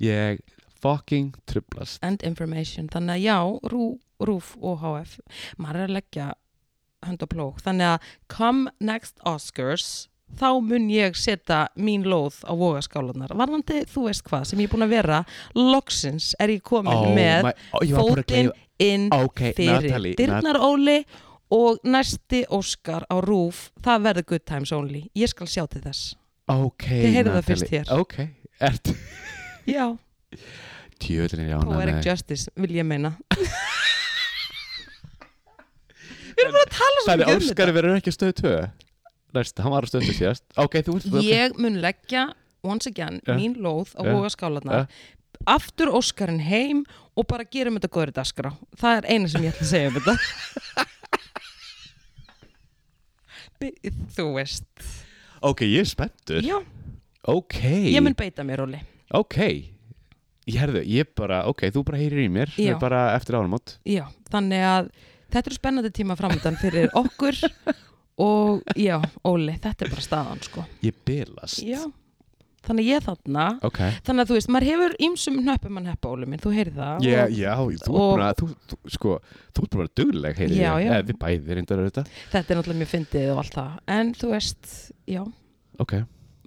ég fucking trublast
and information þannig að já, rú, rúf og HF maður er að leggja hönd og plók þannig að come next Oscars þá mun ég setja mín lóð á vogaskálunar varðandi þú veist hvað sem ég er búin að vera loksins er ég komin með
Oh my- ó, ég var búin að
fótinn
gleyma-
inn
ok,
fyrir
Natalie Nat-
dyrnar Óli og næsti Óskar á rúf það verður good times only ég skal sjá til þess
ok,
Þið heyrðuð það
Natalie.
fyrst hér.
ok, ert
já,
tjöðin er
poetic
jána
justice vil ég meina við erum búin að tala svo
þannig
mikið um þetta
Óskar verður ekki að stöðu tvö næst, hann var að stöðu síðast ok, þú ert
ég mun leggja once again
Ja.
mín lóð á
Ja.
vogaskálanar aftur Óskarinn heim og bara gerum þetta góðri dagskrá það er eina sem ég ætla að segja um þetta Bi- þú veist
ok, ég er spenntur
já,
Ok,
ég mun beita mér Óli
ok Ég herðu, ég bara, ok, þú bara heyrir í mér
Já.
bara eftir áramót
já, þannig að þetta eru spennandi tíma framöndan fyrir okkur og já, Óli, þetta er bara staðan sko.
Ég bylast
já, þannig að ég þarna
Ok
þannig að þú veist, maður hefur ýmsum nöppum að neppa Óli minn, þú heyrði það
Já,
og
já, þú ert
og-
bara, þú, þú, sko, þú ert bara dugleg, heyrði
Já,
ég.
já.
Eh, Við bæði reyndar þetta.
þetta er náttúrulega mjög fyndið og allt það en þú veist, já,
Ok.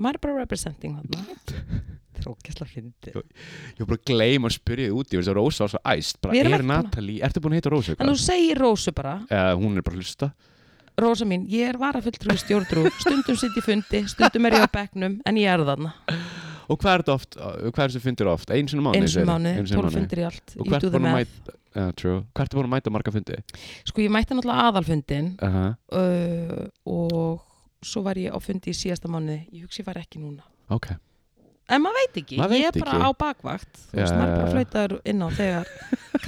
maður er bara representing þarna þetta er ógæslega fyndið
Ég var bara að gleyma að spyrja þig út í, þess að Rósa var svo æst. Bara,
Við erum
er
ekki búin að-
Natalie, ertu búin að heita Rósa?
en þú segir Rósu bara,
Uh, hún er bara að hlusta.
Rósa mín, ég er varafulltrúi stjórntrú stundum sitt í fundi, stundum er ég á bekknum en ég er þarna,
Og hvað er þetta oft, hvað er þetta fundir oft? Einu sinni á mánuði?
eins og
segirðu?
mánu,
Einu sinni á
12
mánuði.
fundir í allt
Og
ég
hvert
do the
búin að
math.
mæta, uh, true, hvert er búin að mæta marga fundi?
sko ég mætti náttúrulega aðalfundin
Uh
uh, og svo var ég á fundi í síðasta mánuði ég hugsi ég var ekki núna
Ok.
en maður veit ekki,
Maður
ég er
veit
bara á
ekki.
bakvakt þú veist,
Já,
maður er
já,
bara
já.
flöytar inn á þegar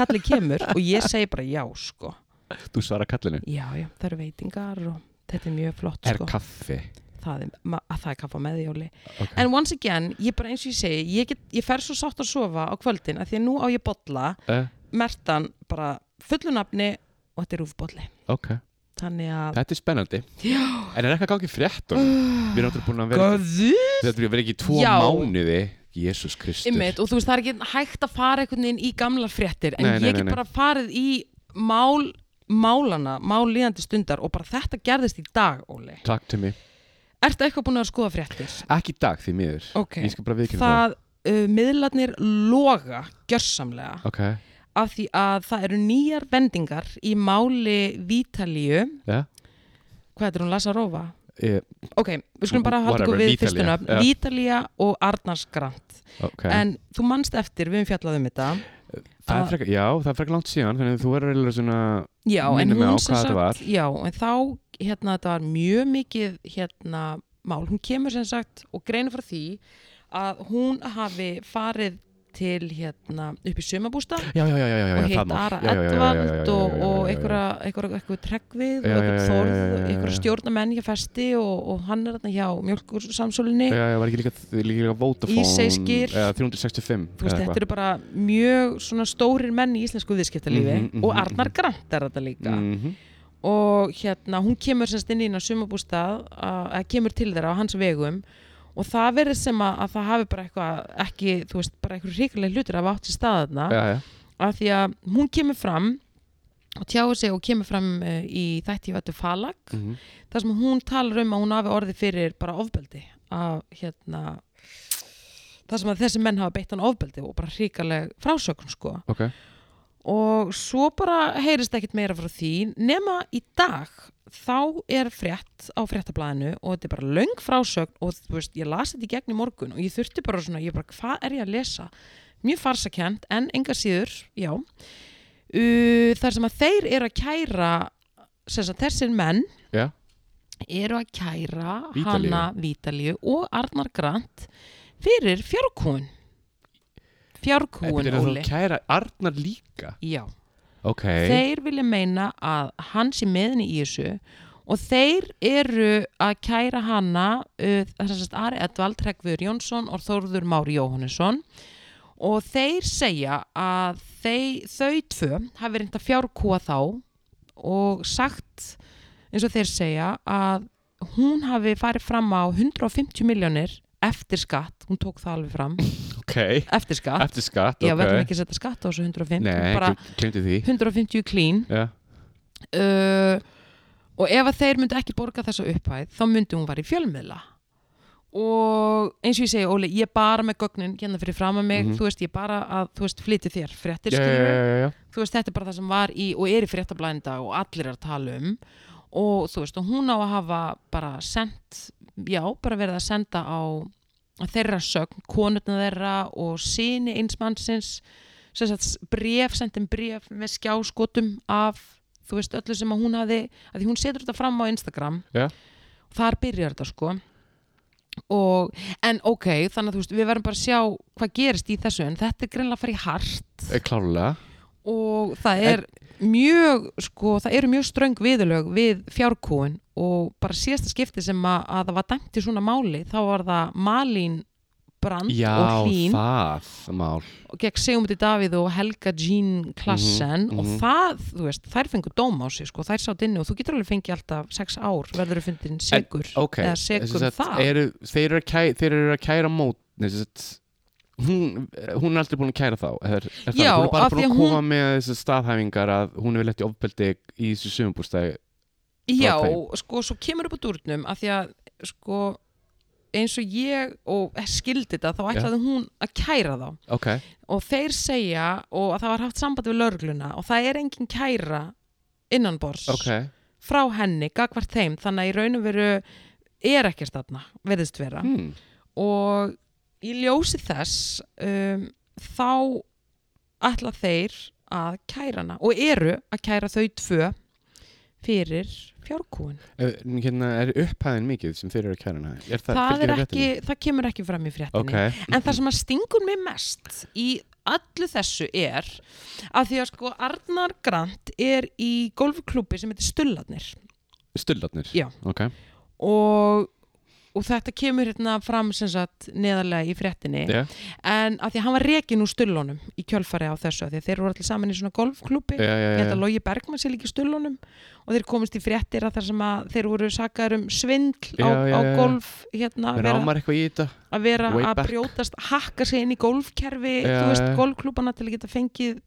kallið kemur og ég segi bara já sko
Þú svarar kallinu.
já, já, það eru veitingar og þetta er mjög flott
Er
sko
kaffi?
það er, ma- að það er kaffa með jóli
Ok.
en once again, ég bara eins og ég segi ég, get, ég fer svo sátt að sofa á kvöldin að því að nú á ég bolla,
Eh,
mertan bara fullu nafni og þetta er rúfbolli
ok.
þannig að
Þetta er spennandi. Já. En er eitthvað gangi fréttum? Við erum náttúrulega búin að vera
Guð
Þetta verður ekki í tvo
Já.
mánuði Jésús Kristur
Einmitt, og þú veist, það er ekki hægt að fara einhvern veginn í gamlar fréttir, en
Nei, nei,
ég get
nei, nei.
bara farið í mál, málana, mál líðandi stundar og bara þetta gerðist í dag, Óli.
Takk til mig
Ertu eitthvað búin að skoða fréttir?
Ekki í dag því miður
Ok,
Ég skal um bara viðkynna það,
það uh, miðlarnir loga gjörsamlega
Ok,
af því að það eru nýjar vendingar í máli Vítalíu,
já
hvað er hún, Lasa Rófa?
yeah.
Ok, við skulum bara halda okkur
Whatever,
við fyrstu
Vitalía,
nöfn,
já.
Vítalía og Arnars Grant.
ok
En þú manst eftir, við höfum fjallað um þetta.
það er freka, Já, það er frekar langt síðan Þannig að þú verður eiginlega svona
Já, en
Minnir mig
hún
á
sem
hvað þetta
sagt,
var.
já, en þá, hérna, þetta var mjög mikið, hérna, mál. Hún kemur sem sagt og greinir frá því að hún hafi farið til, hérna, upp í sömabústa
Já, já, já, já, já, já
og
það
heitt
mál.
Ara
Já, já, já, já, já, já, já, já,
Edvald og, og
já, já, já, já, já.
einhverja, einhverja, einhverja trekkvið og
Já, já,
einhverja
já, já,
þorð
já, já, já,
og
já.
einhverja stjórnamenn hjá festi og, og hann er þarna hjá mjölkursamsólinni.
Já, já, var ekki líka, líka, líka Vodafone
Íseyskir.
eða 365
Þú veist,
eða
þetta eru bara mjög svona stórir menn í íslensku viðskiptalífi
Mhm, mhm,
og
mhm.
Arnar Grant er þetta líka.
eitthvað. Mhm.
og hérna hún kemur semst inn í hérna sumabústað að að kemur til þeirra á hans vegum og það verður sem að, að það hafi bara eitthvað ekki, þú veist, bara eitthvað ríkulega hlutur af átt í staðarna
Já, já,
af því að hún kemur fram og tjáir sig og kemur fram uh, í þætti Vættu Falag
Mhm.
þar sem hún talar um að hún hafi orðið fyrir bara ofbeldi að hérna þar sem að þessi menn hafa beitt hann ofbeldi og bara ríkaleg frásökun sko
ok
og svo bara heyrist ekkit meira frá því nema í dag þá er frétt á fréttablaðinu og þetta er bara löng frásögn og þú veist, ég las þetta í gegn í morgun og ég þurfti bara svona, ég bara, hvað er ég að lesa mjög farsakent, en enga síður já uh, þar sem að þeir eru að kæra sem sagt, þessir menn
Já,
eru að kæra
Vítalíu.
hanna Vítalíu og Arnar Grant fyrir fjárkúin
en
fjárkúin,
byrjar þú
Óli
að kæra Arnar líka
já
Ok,
þeir vilja meina að hann sé meðinni í þessu og þeir eru að kæra hana uh, þess að Ari Edvald, Hreggviður Jónsson og Þórður Mári Jóhannesson og þeir segja að þeir, þau tvö hafi reynda fjárkúa þá og sagt eins og þeir segja að hún hafi farið fram á 150 miljónir eftir skatt, hún tók það alveg fram
ok
eftir skatt,
Eftir skatt,
já
ok
verðum ekki að setja skatt á þessu 150
Nei,
bara
kemdi því
150 clean
Já,
uh, og ef að þeir myndu ekki borga þessa upphæð þá myndi hún var í fjölmiðla og eins og ég segi Óli, ég er bara með gögnin hérna fyrir fram að mig,
Mhm.
þú veist ég er bara að þú veist flytja þér fréttir
já, já,
skilurðu.
já, já, já.
þú veist þetta er bara það sem var í og er í fréttablæðinda og allir er að tala um og þú veist og hún á að hafa bara sendt, já bara verið að senda á þeirra sögn, konutna þeirra og síni einsmannsins sem sagt bref, sendin bref með skjáskotum af þú veist öllu sem að hún hafi að því hún setur þetta fram á Instagram
Já.
þar byrjar þetta sko og, en ok þannig að þú veist við verðum bara að sjá hvað gerist í þessu en þetta er greinlega að fara í hart
Eh, Klárlega
og það er mjög sko, það eru mjög ströng viðurlög við fjárkúin og bara síðasta skipti sem að, að það var dæmt í svona máli þá var það Malín Brand
Já,
og Hlín
það mál
og gegn Sigmundi Davíð og Helga Jean Klassen
Mhm,
og
mhm.
það, þú veist, þær fengu dóm á sig sko, þær sátt inni og þú getur alveg fengið alltaf sex ár verður að fundin segur
Ok,
eða segum
sem sagt,
það
eru, þeir, eru að kæ, þeir eru að kæra mót nei, sem sagt, hún, hún er aldrei búin að kæra þá er, er
Já,
það, Hún er
af
bara
því
búin
að
að koma með þessi staðhæfingar að hún er lett í ofbeldi í þessu sögumbústæði
Já,
þeim.
sko, svo kemur upp á durnum af því að, sko eins og ég og skildi þetta þá ætlaði hún að kæra þá
Ok,
og þeir segja og að það var haft samband við lörgluna og það er engin kæra innanbors
ok
frá henni, gagvart þeim þannig að í raun og veru er ekkert þarna, verðist vera
hmm.
og í ljósi þess um, þá ætla þeir að kæra hana og eru að kæra þau tvö fyrir fjárkúin
Eh, hérna, Er upphæðin mikið sem þeir eru að kæra hana? Er það,
það,
fylgir
er
það
ekki,
fréttinni?
það kemur ekki fram í fréttinni
Ok,
en það sem að stingur mig mest í öllu þessu er að því að sko Arnar Grant er í golfklúpi sem heitir Stullarnir
stullarnir
Já.
Ok,
og, og þetta kemur hérna fram sem sagt neðarlega í fréttinni
já,
en að því að hann var rekin úr Stullunum í kjölfari á þessu að því að þeir voru allir saman í svona golfklúpi
já, já,
Ég held
já.
að Logi Bergmann sé líka í stullunum og þeir komist í fréttir að þar sem að þeir voru sakaður um svindl á,
Já, já,
á
já.
golf hérna, að vera-
Rámar eitthvað í þetta?
að vera
Way
að
back.
brjótast hakka sig inn í golfkerfi
Já,
þú veist,
já.
golfklúbana til að geta fengið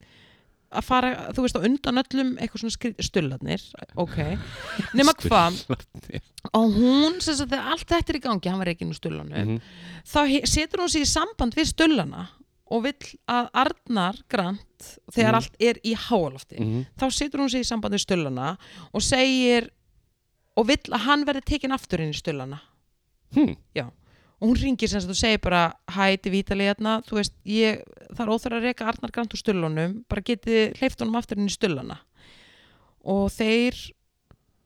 að fara, þú veist, á undan öllum eitthvað svona skrið, stullarnir, ok nema hvað,
Stullarnir.
og hún sem sagt, þegar allt þetta er í gangi, hann var ekki nú stullanum
Mhm.
þá he- setur hún sig í samband við stullana og vill að Arnar Grant, þegar
Mhm.
allt er í háalofti,
Mhm.
þá setur hún sig í samband við stullana og segir og vill að hann verði tekin aftur inn í stullana
Hmm.
og hún ringir sem sagt og segir bara hæ, þetta er vítalið hérna, þú veist ég, það er óþvara að reka Arnar Grant úr stullunum bara getið hleyft honum aftur inn í stullana og þeir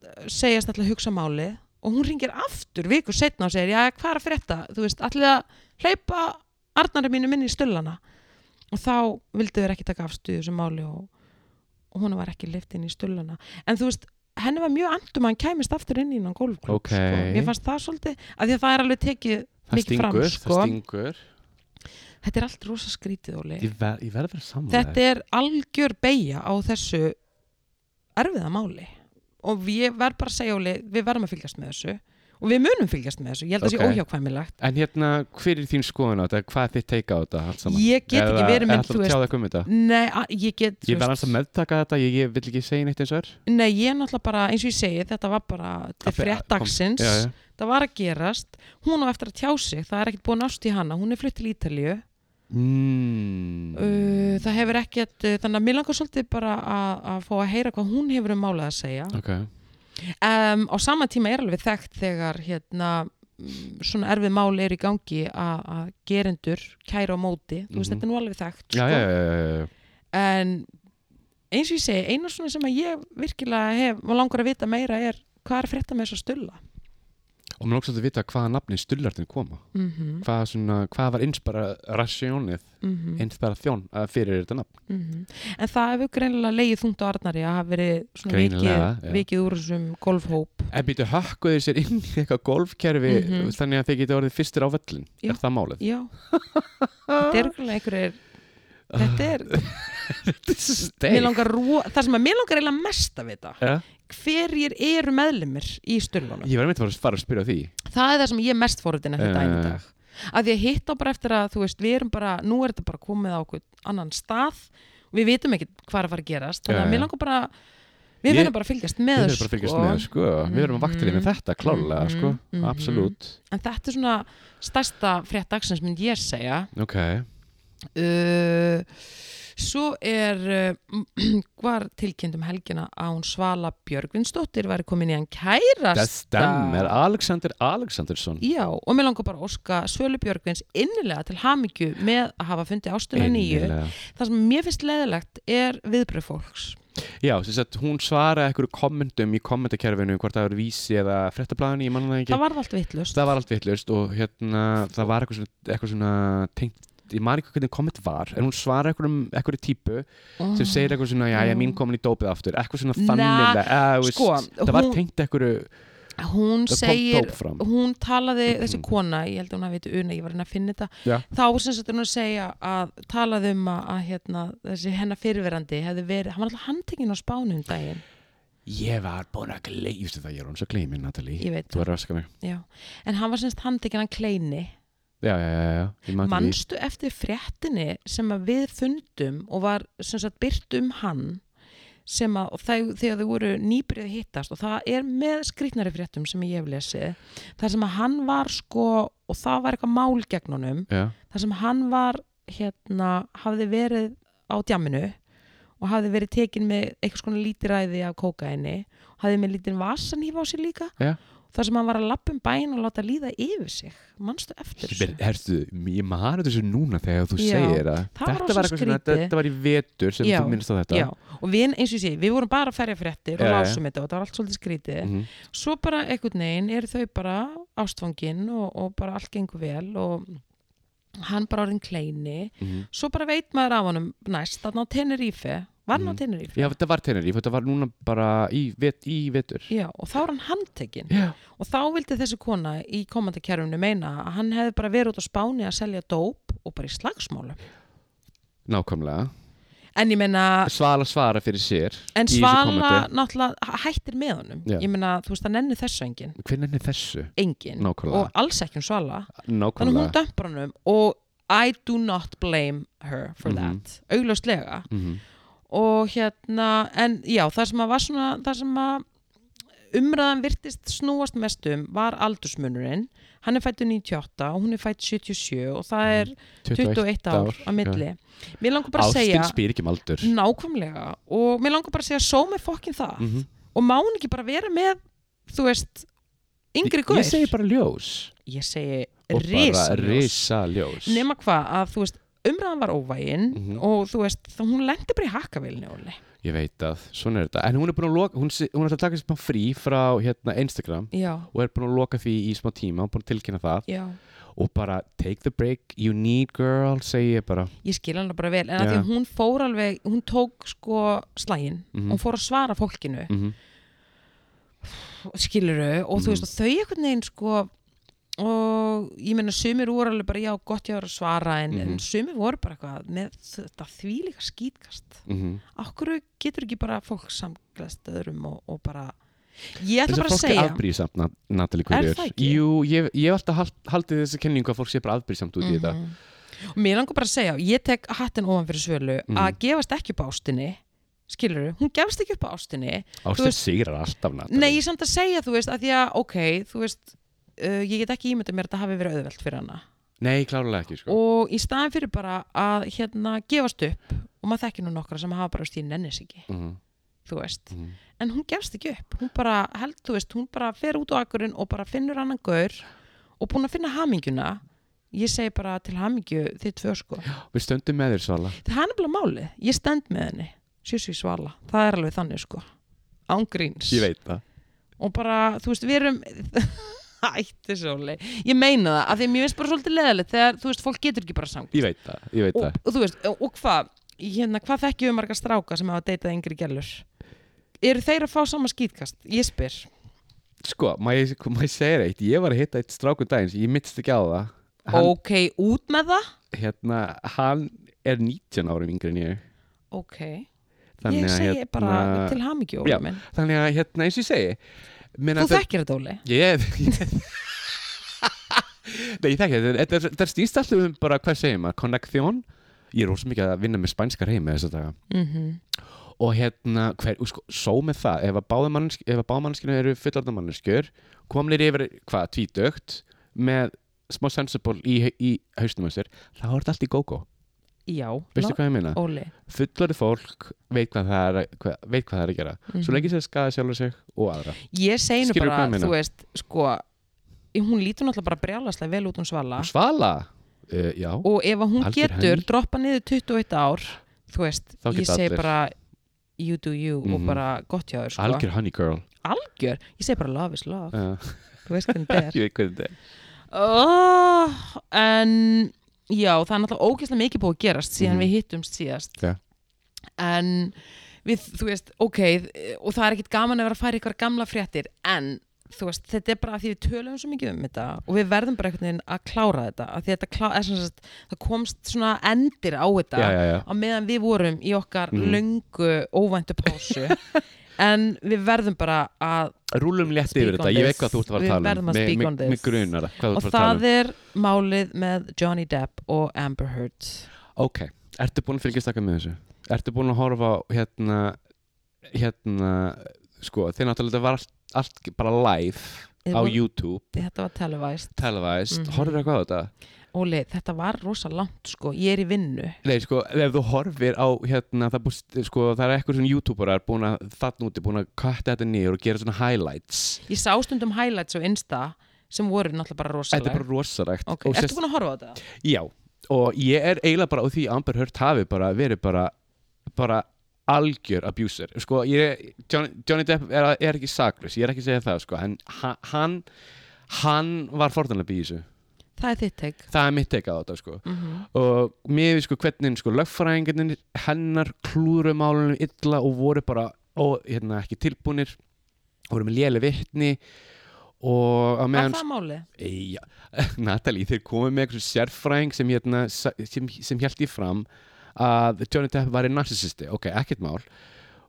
eh, segjast alltaf að hugsa málið og hún ringir aftur viku setna og segir, já, hvað er að frétta þú veist, allir að hleypa Arnari mínum inn í stullana og þá vildu þeir ekki taka afstuðu þessu máli og, og hún var ekki hleyft inn í stullana, en þú veist henni var mjög andum að hann kæmist aftur inn í hann golfklub,
Ok.
sko. mér fannst það svolítið að því að það er alveg tekið
Það
mikið
stingur,
fram, sko.
það stingur
Þetta er allt rosa skrítið, Óli.
Ég, ver, ég verð að vera saman
Eh. Þetta er algjör beigja á þessu erfiða máli. Og ég verð bara að segja, Óli, við verðum að fylgjast með þessu. Og við munum fylgjast með þessu. Ég held að
Ok.
það sé óhjákvæmilegt.
En hérna, hver er þín skoðun á þetta? Hvað er þitt teika á þetta? allt saman?
Ég get ekki
Eða-
verið
eða
minn,
ætlarðu
þú
að tjá
veist.
þig um þetta?
Nei, a- ég get, þú
Ég verð alveg að meðtaka þetta, ég, ég vil ekki segja neitt eins og er
Nei, ég er náttúrulega bara, eins og ég segi, þetta var bara, þetta er
Að-
frétt
að- kom-
dagsins.
Já, já.
Það var að gerast. Hún á eftir að tjá sig. Það er ekkert búin ást í hana. Hún er flutt til Ítalíu.
Mm.
Uh, það hefur ekkert, uh, þannig að mér langar svolítið bara að, að fá að heyra hvað hún hefur um málið að segja.
Ok,
um, á sama tíma er alveg þekkt þegar hérna mm, svona erfið mál er í gangi að að gerendur kæra á móti þú veist
Mhm.
þetta er nú alveg þekkt sko.
já, já, já, já, já.
en eins og ég segi, eina svona sem að ég virkilega hef og langar að vita meira er hvað er að frétta með þess að stulla
Og mér lóksum að vita hvaða nafni stullartin koma
mm -hmm,
Hvað, svona, hvað var inspara rasjónið
mm -hmm,
Inspara þjón að fyrir þetta nafn
mhm. en það hefur greinilega legið þungt á Arnari að hafa verið svona
Greinilega,
vikið,
já.
vikið úr þessum golfhóp
En býtu hökkuðu þeir sér inn í eitthvað golfkerfi
Mhm.
Þannig að þeir geta orðið fyrstir á vellin
Já.
Er það málið?
já, þetta er greinilega einhverjir þetta er, mér
Steik
langar ro- það sem að mér langar eiginlega mest að vita
Já.
hverjir eru meðlumir í stöllunum
Ég var einmitt að fara að fara að spyrja á því
það er það sem ég er mest fóruðin að þetta
Eh.
einu dag að því að hitta bara eftir að þú veist við erum bara, nú er þetta bara komið á okkur annan stað, við vitum ekki hvað er að fara að gerast, þannig
Já,
að mér
já.
langar bara við
Eh. Ég-
verðum bara að fylgjast með
Við erum bara að fylgjast með, sko Við erum að vaktinni með þetta,
Mhm,
klálega, sko
mhm.
Absolutt
en þetta er svona stærsta frétt dagsins mynd ég segja
Ok
Uh, svo er uh, var tilkynnt um helgina að hún Svala Björgvinsdóttir væri komin í hann
Það
kærasta
stemmer Alexander Alexandersson
Já, og mér langar bara að óska Svölu Björgvins innilega til hamingju með að hafa fundið ástuna nýju
Innilega.
Það sem mér finnst leðilegt er viðbröð fólks
Já, sem sagt, hún svaraði einhverju kommentum í kommentakerfinu hvort það voru vísi eða frettablaðinu, ég manna það ekki
Það varð allt vittlust
það var allt vittlust og hérna það var eitthvað svona, eitthvað svona tengt, ég man ekki hvernig komment var en hún svaraði einhverjum, einhverju típu sem segir Mm. eitthvað svona, já, ég mín komin í dópið aftur eitthvað svona
Na,
þannilega, eða, þú veist,
sko,
það var
hún-
tengt einhverju
hún
Það kom
segir
dóp fram.
hún talaði, þessi kona, ég held að hún hafi veitu una, ég var að reyna að finna þetta
Já.
þá sem sagt er hún að segja að talaði um að, að hérna, þessi hennar fyrirverandi hefði verið, hann var alltaf handtekinn á spánu um daginn,
Ég var búin að gleyma, ég veist það, ég er hún svo gleymin, Natalie.
ég veit
Þú var að raska mig.
já. en hann var semst handtekinn hann Kleini
Já, já, já, já, ég man ekki
manstu eftir fréttinni sem að við fundum og var sem sagt byrt um hann sem að, og þau, þegar þau voru nýbyrjuð að hittast og það er með skrýtnari fréttum sem ég hef lesið þar sem að hann var sko og það var eitthvað mál gegn honum
því. Já,
þar sem hann var hérna, hafði verið á djamminu og hafði verið tekin með eitthvað svona lítiræði af kókaini hafði með lítinn vasanýfa á sér líka
Já.
þar sem hann var að lappa um bæin og láta líða yfir sig manstu eftir
Ber- hertu, ég maður þessu núna þegar þú
Já,
segir það.
það var
Þetta
rosa
var eitthvað svona,
skrítið.
þetta var í vetur sem
Já,
þú minnst á þetta.
Já, og við, eins og ég sé, við vorum bara að ferja fréttir og
Já, já.
lásum þetta og þetta var allt svolítið skrítið.
Mhm.
Svo bara einhvern veginn eru þau bara ástfangin og, og bara allt gengur vel og hann bara orðin kleini.
Mhm.
Svo bara veit maður af honum næst að ná Tenerife, var
Mm.
hann á Tenerife?
Já, þetta var tennir, þetta var núna bara í, vet, í vetur.
Já, og þá er hann handtekinn
Já.
og þá vildi þessi kona í komandakerfinu meina að hann hefði bara verið út á Spáni að selja dóp og bara í slagsmálum.
Nákvæmlega.
En ég meina,
Svala svara fyrir sér.
en
í þessu
Svala
kommenti.
náttúrulega hættir með honum.
Já.
Ég meina, þú veist, það nenni þessu enginn.
Hvernig er þessu?
engin
Nákvæmlega.
og alls ekki um svala þannig að hún
Nákvæmlega.
dömpar hann um og I do not blame her for
Mhm.
that augljóslega
Mm
og hérna en já það sem að var svona það sem að umræðan virtist snúast mest um var aldursmunurinn hann er fættur 98 og hún er fætt 77 og það er
Mhm.
21 ár,
ár,
á milli mér langar bara að segja
Ástin spyr ekki um aldur.
nákvæmlega og mér langar bara að segja sómi fokkin það
Mm
og má hún ekki bara vera með þú veist yngri
Ég
guður
segi bara ljós.
ég segi
Og bara
risaljós
risa ljós.
nema hvað að þú veist umræðan var óvægin
Mhm.
og þú veist þá hún lendi bara í hakkavilni Óli.
Ég veit að, svona er þetta En hún er búin að loka, hún, sé- hún er að taka sér smá frí frá hérna, Instagram
já,
og er búin að loka því í smá tíma, hún er búin að tilkynna það
já
og bara take the break, you need girl segi ég bara
ég skil hann bara vel en að því
Já.
að hún fór alveg hún tók sko slægin
Mhm.
hún fór að svara fólkinu
mm
skiluru og þú
Mhm.
veist og þau einhvern veginn sko og ég meina sumir voru alveg bara já gott ég var að svara en, en
Mhm.
sumir voru bara eitthvað með þetta þvílíka skýtkast
-hmm.
okkur getur ekki bara fólk samglast öðrum og, og bara ég ætla
Þess
bara
að
að
fólk er
segja
afbrýðsamt Na- Natalie Courier
það ekki?
Jú, ég, ég hef alltaf hald, haldið þessi kenningu að fólk sé bara afbrýðsamt út í
Mhm.
þetta
og mér langar bara að segja, ég tek hattin ofan fyrir svölu
Mhm.
að gefast ekki upp á ástinni skilur hún gefst ekki upp á ástinni Þú
Ástin
veist-
sigrar alltaf Natalie
nei, ég er samt að segja, þú veist, að því að ok, þú veist, uh, ég get ekki ímyndað mér að þetta hafi verið auðvelt fyrir hana
Nei, klárlega ekki sko.
og í staðin fyrir bara að hérna, gefast upp og maður þekkir nú nokkra sem hafa bara, þú veist, ég nennis ekki
mm
þú veist,
Mhm.
en hún gefst ekki upp hún bara, held, þú veist, hún bara fer út á akkurinn og bara finnur annan gaur og búin að finna hamingjuna ég segi bara til hamingju þið tvö sko
Við stöndum með þér Svala
það er nefnilega málið, ég stend með henni sjössi svala, það er alveg þannig sko ángríns
Ég veit það
og bara, þú veist, við erum ætti sóli, ég meina það af því að mér finnst bara svolítið leðalegt þegar, þú veist, fólk getur ekki bara samt
Ég veit það, ég veit
og,
það.
og þú veist, og, og hvað hérna, hvað þekkjum við marga stráka sem hafa deytað yngri gælur eru þeir að fá sama skýtkast, ég spyr
Sko, má ég, má ég segja þér eitt Ég var að hitta eitt stráku dagins Ég mittst ekki á það Hann,
ok, út með það
hérna, hann er 19 árum yngri en ég
ok, ég segi bara til hamingju,
hérna- Já,
Óli minn
Þannig að hérna eins og ég segi
þú
meina, það-
þekkir þetta, Óli
Ég Nei, ég þekki þetta þetta er- Þetta stýst alltaf um bara, hvað segir maður, connection Ég er rosa mikið að vinna með spænskar heimi þess að daga
mm
Og hérna, hver, og sko, svo með það Ef að báðamannsk- ef að báðamannskinu eru fullarðamannskjör Komnir yfir, hvað, tvítögt Með smá sensiból í, í hausnum þessir Þá er þetta allt í gógó
já,
Veistu hvað ég meina?
Óli
Fullari fólk veit hvað það er, að- hvað, veit hvað það er að gera
Mhm.
Svo lengi sér skada sjálfur sig og aðra
ég segi nú
Skilur
bara,
hvað ég meina?
þú veist, sko hún lítur náttúrulega bara brjálaslega vel út um svala
Og Svala, uh, já
og ef að hún
Algjör
getur
henni.
droppa niður 21 ár þú veist,
Þá
ég
geta
segi
allir.
bara you do you og
Mhm.
bara gott hjá þér sko.
Algjör honey girl
algjör, ég segi bara love is love
uh,
þú veist hvernig þetta er
Ég veit hvað þetta er
oh, en já, það er náttúrulega ógeðslega mikið búið að gerast síðan
Mhm.
við hittumst síðast
Já.
en við, þú veist, ok og það er ekkit gaman að vera að færa ykkur gamla fréttir en þú veist, þetta er bara að því við tölum svo mikið um þetta og við verðum bara einhvern veginn að klára þetta að því þetta klá, er, sem sagt, það komst svona endir á þetta
já, já, já.
á meðan við vorum í okkar
Mhm.
löngu óvæntu pásu en við verðum bara að
Rúlum létt
Speak
yfir
on
þetta, ég
this.
veit hvað þú ert að fara
Við
að tala
verðum
um
að
Mig-
speak
mig-
on this.
mig grunar það, hvað þú
og
ert að um. fara að
það er málið með Johnny Depp og Amber Heard
tala um Ok, ertu búin að fylgjast taka með þessu? Ertu búin að horfa á hérna hérna, sko, þeir náttúrulega þetta var allt, allt bara live
Ég
á
var-
YouTube,
þetta var televised
televæst, mm
Mhm.
eitthvað á þetta?
Óli, þetta var rosa langt sko, ég er í vinnu
Nei, sko, ef þú horfir á hérna, það, búst, sko, það er eitthvað svona youtuberar búin að þarna úti, búin að kvætta þetta niður og gera svona highlights
ég sá stundum highlights á Insta sem voru náttúrulega bara rosalega
Þetta er bara rosarægt
okay.
og,
Ertu
sérst-
búin að horfa á þetta?
Já, og ég er eiginlega bara á því að Amber Heard hafi bara verið bara, bara algjör abuser sko, ég, Johnny, Johnny Depp er, er ekki saklus, ég er ekki að segja það sko, en ha- hann hann var forðanlega í þessu
Það er þitt teik
það er mitt tekað á þetta sko.
mm
og mér við sko hvernig sko, lögfræðingarnir hennar klúru málunum illa og voru bara ó, hérna, ekki tilbúnir voru með léle vittni og á
Var
meðan
það málið?
Eja, Natalie, þeir komið með eitthvað sérfræðing sem, hérna, sa- sem, sem held í fram að Johnny Depp var í narcissisti, ok, ekkert mál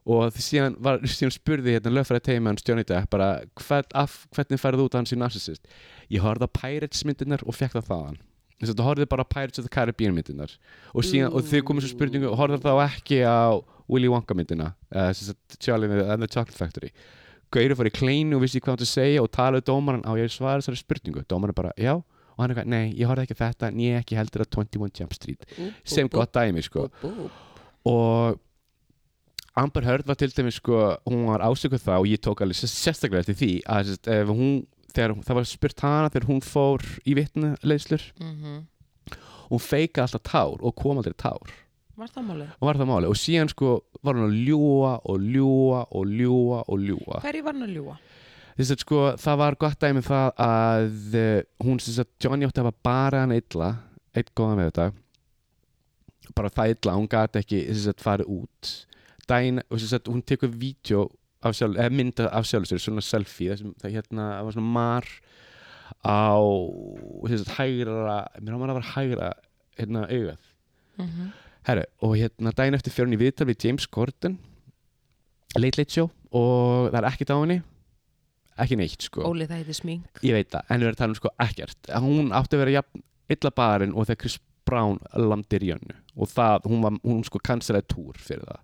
og því síðan, var, síðan spurði hérna lögfæra teimi hans Johnny Depp bara hvern, af, hvernig færðu út að hann sé narcissist ég horfði á Pirates myndirnar og fekk það þaðan þess að þú horfði bara á Pirates of the Caribbean myndirnar og, síðan, og þau komið svo spurningu og horfði þá ekki á Willy Wonka myndina uh, Charlie and the- and the Chocolate Factory Gauri fór í kleinu og vissi ekki hvað hann átti að segja og talaði dómaran á ég svara þessari spurningu dómaran bara, já, og hann eitthvað, nei, ég horfði ekki á þetta en ég ekki heldur að 21 Jump Street sem gott dæmi, sko og Amber Heard var til dæmis, sko, hún var ásökuð það og ég tók alveg sér- sérstaklega eftir því að sérst, ef hún, þegar hún- það var spurt hana þegar hún fór í vitnulegslur
mm
hún feikaði alltaf tár og kom aldrei tár
Var það málið?
og var það máli og síðan, sko, var hún að ljúa og ljúa og ljúa og ljúa
Hverju var hann að ljúa?
þess að sko það var gott dæmi um það að uh, hún sem sagt Johnny átti að hafa bara hann illa eitt góða með þetta bara það illa, hún gati ekki þess að farið út dæin, og sem sagt hún tekur vídeo af sjálf, eða mynda af sjálf sér, svona selfie það, sem, það hérna það var svona mar á sem sagt hægra, mér hann var að vera hægra hérna augað
Mm
Herru, og hérna daginn eftir fjörun í viðtal við James Corden Late Late Show og það er ekkert á henni ekki neitt sko
Óli, það heiti smink
ég veit það, en við erum að tala um sko ekkert Að hún átti að vera jafn illa barinn og þegar Chris Brown landir í önnu og það, hún, var, hún sko cancelaði túr fyrir það,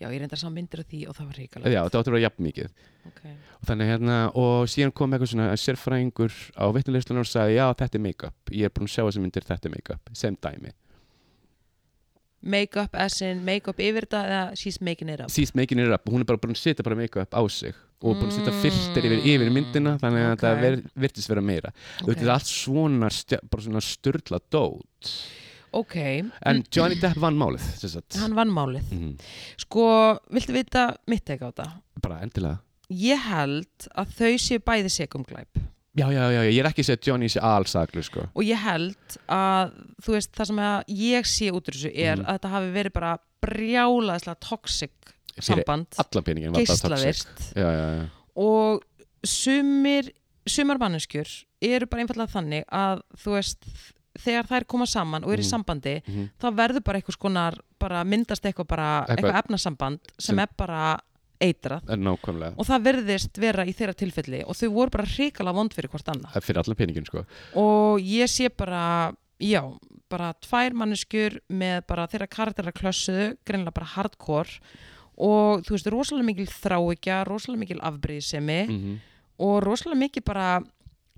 Já, ég reyndar sá myndir af því og það var ríkalegt
já, það átti að vera jafn mikið
okay.
og þannig hérna, og síðan kom eitthvað svona sérfræðingur á vitnulegslunar og sagði, já, þetta er make-up ég er búin að sjá þessi myndir, þetta er make-up, sem dæmi
Make-up as in make-up yfir þetta eða she's making it up
síst making it up, hún er bara búin að setja bara make-up á sig og búin að setja
Mm.
filter yfir, yfir myndina þannig að
Ok.
það ver, virtist vera meira okay. þetta er allt svona, stja, bara svona störla dót
ok,
en Johnny Depp vann málið sem sagt.
Mm. hann vann málið
mm,
Sko, viltu vita mitt ekki á þetta?
bara endilega
Ég held að þau séu bæði segum glæp
já, já, já, já, ég er ekki að segja að Johnny sé allsaklu sko.
og ég held að þú veist, það sem að ég sé út úr þessu er
Mhm.
að þetta hafi verið bara brjálaðislega toxic
Fyrir
samband
allan peningin var bara toxic
geislavirkt
já, já, já,
og sumir, sumar manneskjur eru bara einfallega þannig að þú veist, þegar þær koma saman og eru í
Mhm.
sambandi,
Mhm.
þá verður bara eitthvað skonar, bara myndast eitthvað bara,
Eitthvað-
eitthvað efnasamband sem,
Sem-
er bara eitrað
en nákvæmlega
og það verðist vera í þeirra tilfelli og þau voru bara hrikala vond fyrir hvort annað
Það er fyrir allan peningin sko.
Mhm. og ég sé bara, já bara tvær manneskjur með bara þeirra karakterar klössuðu, greinlega bara hardcore og þú veist, rosalega mikil þráikja, rosalega mikil afbrýðisemi
mm
og rosalega mikið bara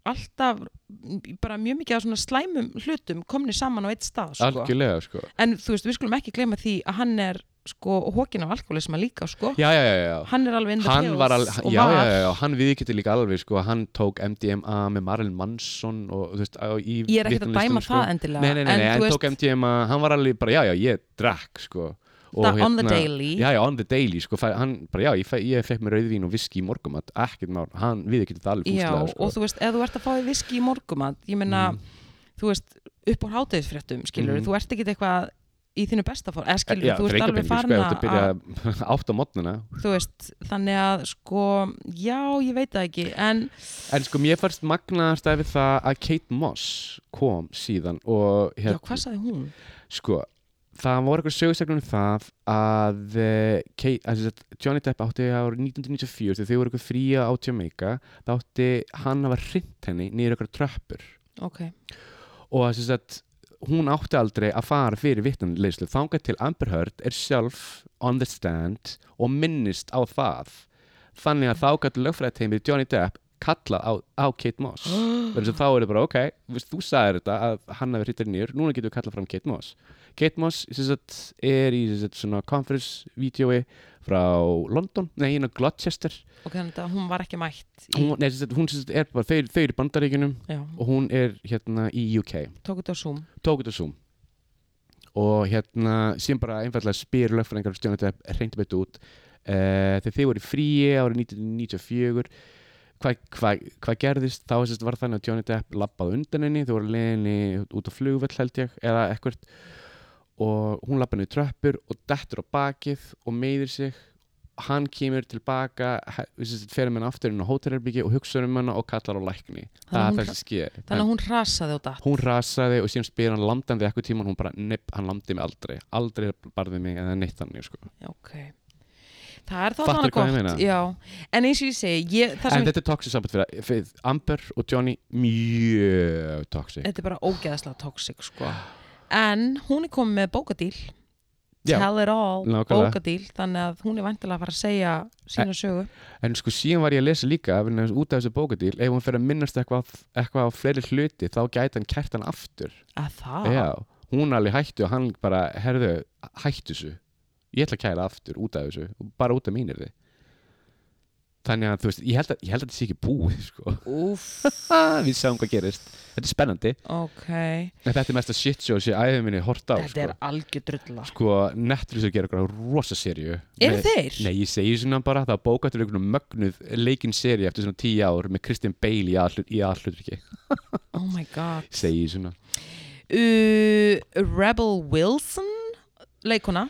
alltaf, m- bara mjög mikið af svona slæmum hlutum komni saman á eitt stað, sko.
algjörlega sko.
En þú veist, við skulum ekki gleyma því að hann er, sko, hókin af alkoholisma líka, sko.
já, já, já, já.
Hann er alveg in the
hann
pills
var alveg,
og
já,
var.
já, já, já, hann viðkynnti líka alveg sko, að hann tók MDMA með Marilyn Manson og þú veist, á, í
Ég er ekkert að
vitnalistum,
dæma það endilega.
Nei, nei, nei, nei,
en,
en,
þú
tók MDMA, hann var alveg bara, já, já, ég drakk sko og,
það on the daily.
Já, já, on the daily, sko, fæ, hann bara, já, ég, fæ, ég fekk mér rauðvín og viski í morgumat, ekkert mál, hann viðkynnti það alveg
Já,
fúslega, sko. Mm.
og þú veist, ef þú ert að fá því viski í morgumat, ég meina, þú veist, upp á hátegisfréttum, skilur,
Mhm.
þú ert ekki eitthvað í þínu besta fór, eða skilur,
Eh, Já,
þú ert alveg
drengabingi,
farin
sko, ef þetta
að,
byrja átt á mótnana
þú veist, þannig að sko, já, ég veit það ekki en,
En sko, mér fannst magnaðast ef það að Kate Moss kom síðan og
já,
hér,
hvað saði hún?
sko, það voru eitthvað sögustæknum um það að, eh, Kate, að sem sagt, Johnny Depp átti árið 1994 þegar þau voru eitthvað fría á Jamaica þá átti hann að var hrind henni niður eitthvað tröppur
Ok,
og að sem sagt, hún átti aldrei að fara fyrir vittanleyslu þangað til Amber Heard er sjálf on the stand og minnist á það þannig að þá gæti lögfræðteimið Johnny Depp kallað á, á Kate Moss þannig að þá er það bara ok, viðst, þú sagðir þetta að hann hafi hittar nýr, núna getum við kallað fram Kate Moss Kate Moss sem sagt, er í sem sagt, svona conference-vídeói frá London, nei, hérna Gloucester
ok, þannig að hún var ekki mætt í,
hún, nei, sem sagt, hún sem sagt, er bara, þau, þau eru í bandaríkunum
já,
og hún er hérna í UK
tók þetta á Zoom
tók þetta Zoom og hérna síðan bara einfallega spyr lögfræðingar stjóna þetta reyndi betur út uh, þegar þið voru í fríi árið 1994 hvað hva, hva gerðist þá sérst, var þannig að Johnny Depp labbaði undan henni þau voru leginni út á flugvell held ég eða ekkert og hún labbaði niður tröppur og dettur á bakið og meiðir sig hann kemur tilbaka fer með hann aftur inn á hótelherbyggi og hugsaður um hana og kallar á lækni
hún hra-
það er það sem sker
þannig að hún rasaði á datt
hún rasaði og síðan spyr hann landan því eitthvað tíma og hún bara, nepp, hann landi mig aldrei aldrei barði mig eða neitt þannig sko.
ok, það er þá
Fattar
þannig
hvað
gott
ég meina?
já, en eins og ég segi ég, það
en
sem,
þetta er toxic samband fyrir, fyrir Amber og Johnny mjög toxic
þetta er bara ógeðaslega toxic sko, en hún er komið með bókadíl
Já.
tell it all,
Nákvæmlega. Eh.
bókadíl þannig að hún er vantilega að fara að segja sína sögu
en sko síðan var ég að lesa líka vegna þess- út af þessu bókadíl, ef hún fer að minnast eitthvað, eitthvað á fleiri hluti, þá gæti hann kert hann aftur
að það,
Já, hún alveg hættu og hann bara, herðu, hættu þessu ég ætla að kæra aftur út af þessu bara út af mínir þið þannig að þú veist, ég held að, ég held að þetta sé ekki búið sko.
úff
Ah, við sjáum hvað gerist, þetta er spennandi
ok
En þetta er mesta shit show sem æðið minni hort á
Þetta
sko.
er algjör drulla
sko, Netflix er að gera eitthvað rosa serju
Eru þeir?
Nei, ég segi svona bara, það bókaður einhvern mögnuð leikinn serju eftir svona tíu ár með Christian Bale í allut, í allut ekki
Oh my god
segi svona,
uh, Rebel Wilson leikuna,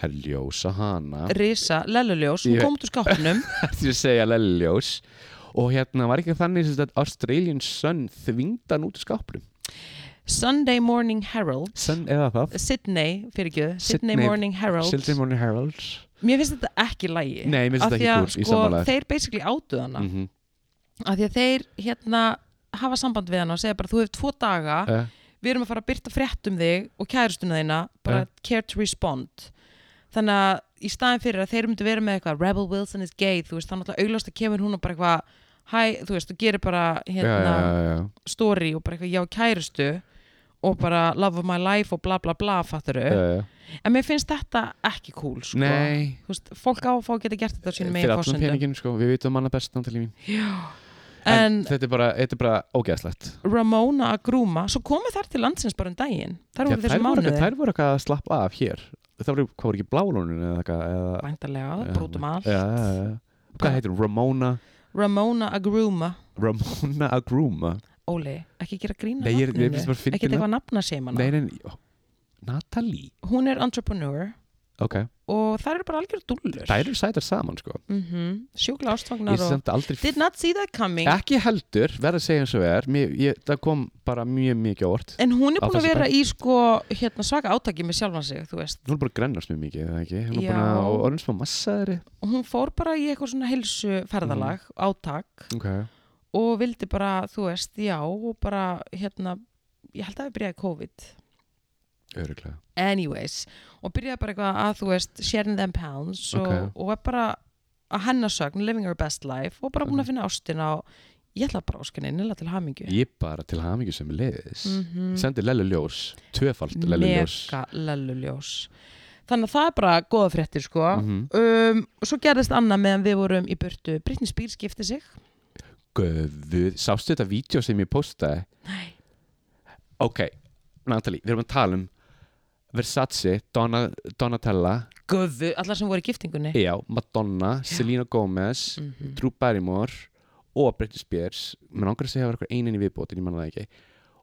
herrljósa hana
Risa Lelluljós hún
Ég-
kom út úr skápnum
því að segja lelljós og hérna var ekki þannig sem þetta Australian Sun þvingdan út í skápnum
Sunday Morning Herald
Sun eða það
Sydney, fyrir ekki, Sydney,
Sydney-
Morning Herald
Sildri Morning Herald
Mér finnst þetta ekki lægi
Nei, mér finnst þetta ekki kúl, ég
sko,
sammála þér.
Þeir basically átuð hana
mm -hmm.
af því að þeir hérna hafa samband við hana og segja bara þú hefur tvo daga
uh,
við erum að fara að byrta frétt um þig og kærustuna þína bara
Ja.
care to respond þannig að í staðin fyrir að þeir myndu vera með eitthvað Rebel Wilson is gay, þú veist, þannig að auglast að kemur hún og bara eitthvað, hæ, þú veist, þú gerir bara
já,
hérna,
já, já, já.
story og bara eitthvað, já, kærustu og bara love of my life og bla bla bla fatturu,
Uh,
en mér finnst þetta ekki cool, sko
nei
Þú veist, fólk á að fá að geta gert þetta á sínum
Eh, fyrir
megin
allan
fórsöndum
peningin sko, við vitum manna best náttúrulega mín
en
þetta er bara, þetta er bara ógeðslegt
Ramona að grúma, svo komu þær til landsins bara um daginn, þær voru
Já,
þessu
voru-
mánuði
þær voru eitthvað að slappa af hér það voru, hvað voru ekki blálónin eða eitthvað eða,
væntalega,
Já,
brútum allt
já, já, já. hvað heitir hún? Ramona
Ramona að grúma
Ramona Agruma
Óli, ekki gera grína
Nei, ég er- ég finnst bara fyndið
ekki eitthvað nafna sem
nei, nei, nei, ó, Natalie
hún er entrepreneur
ok,
og það eru bara algjör dúllur
þær eru sætar saman sko
mm -hmm. sjúkla
ég
ástfagnar og
samt aldrei
did not see that coming
ekki heldur, verð að segja eins og er mér, ég, það kom bara mjög mikið á orð
en hún er
Á
búin að
þessu
vera í sko hérna, svaka átaki með sjálfan sig þú veist.
hún er bara að grennast mjög mikið, eða ekki hún er
Já.
búin að og orðin smá massaðri
og hún fór bara í eitthvað svona helsu ferðalag
Mhm.
átak
okay.
og vildi bara, þú veist, já og bara, hérna, ég held að við byrjaði COVID
öruglega
anyways og byrjaði bara eitthvað að þú veist sharing them pounds og,
Ok.
og er bara að hennasögn, living her best life og bara búin að
Mhm.
finna ástina og ég ætla bara áskinni, nýla til hamingju
ég bara til hamingju sem leiðis
Mhm.
sendi Lellu ljós, tvöfald Lellu ljós
mega lelluljós þannig að það er bara góða fréttir sko
Mhm.
um, og svo gerðist annað meðan við vorum í burtu Britney Spears skipti sig
Guð, sástu þetta vídeo sem ég postaði?
Nei.
Ok, Natalie, við erum að tala um Versace, Donna, Donatella
Gufu, allar sem voru í giftingunni
Já, Madonna, Selena Gomez
Mhm.
Drew Barrymore og Britney Spears Mér langar að segja að það var eitthvað einin í viðbótin, ég manna það ekki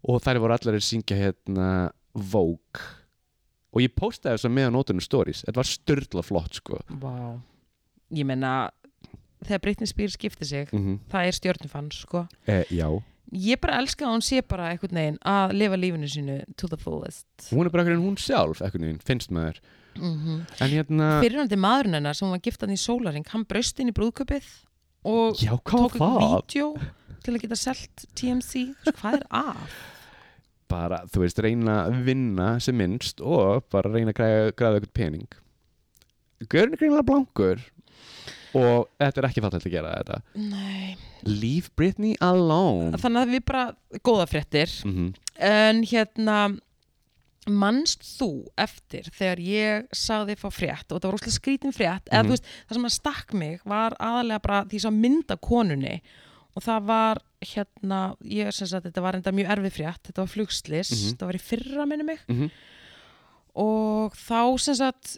Og þær voru allar að syngja hérna Vogue og ég postaði þess að meðan nótunum stories þetta var störla flott sko
Vá. Ég meina, þegar Britney Spears skipti sig,
mm
það er stjórnufann, sko.
Eh, já,
Ég bara elska að hún sé bara einhvern veginn að lifa lífinu sínu to the fullest.
hún er bara hvernig hún sjálf einhvern veginn, finnst maður
Mm -hmm.
en hérna,
Fyrirhandi maðurinn hennar sem hún var giftan í sólaring, hann braust inn í brúðköpið og
já hvað
tók
var
eitthvað
það?
vídeo til að geta selt TMC. Sko, Hvað er að?
bara, þú veist, reyna að vinna sem minnst og bara reyna að græða, græða eitthvað pening Görn er greinlega blankur og þetta er ekki fallegt að gera þetta
Nei.
Leave Britney alone
Þannig að við bara, góða fréttir,
mm
En hérna mannst þú eftir þegar ég sagði fá frétt og þetta var rúslega skrítin frétt eða
Mhm.
þú veist, það sem að stakk mig var aðalega bara því sem mynda konunni og það var hérna ég sem sagt, þetta var enda mjög erfið frétt þetta var flugslis,
Mhm.
þetta var í fyrra minni mig
Mhm.
og þá sem sagt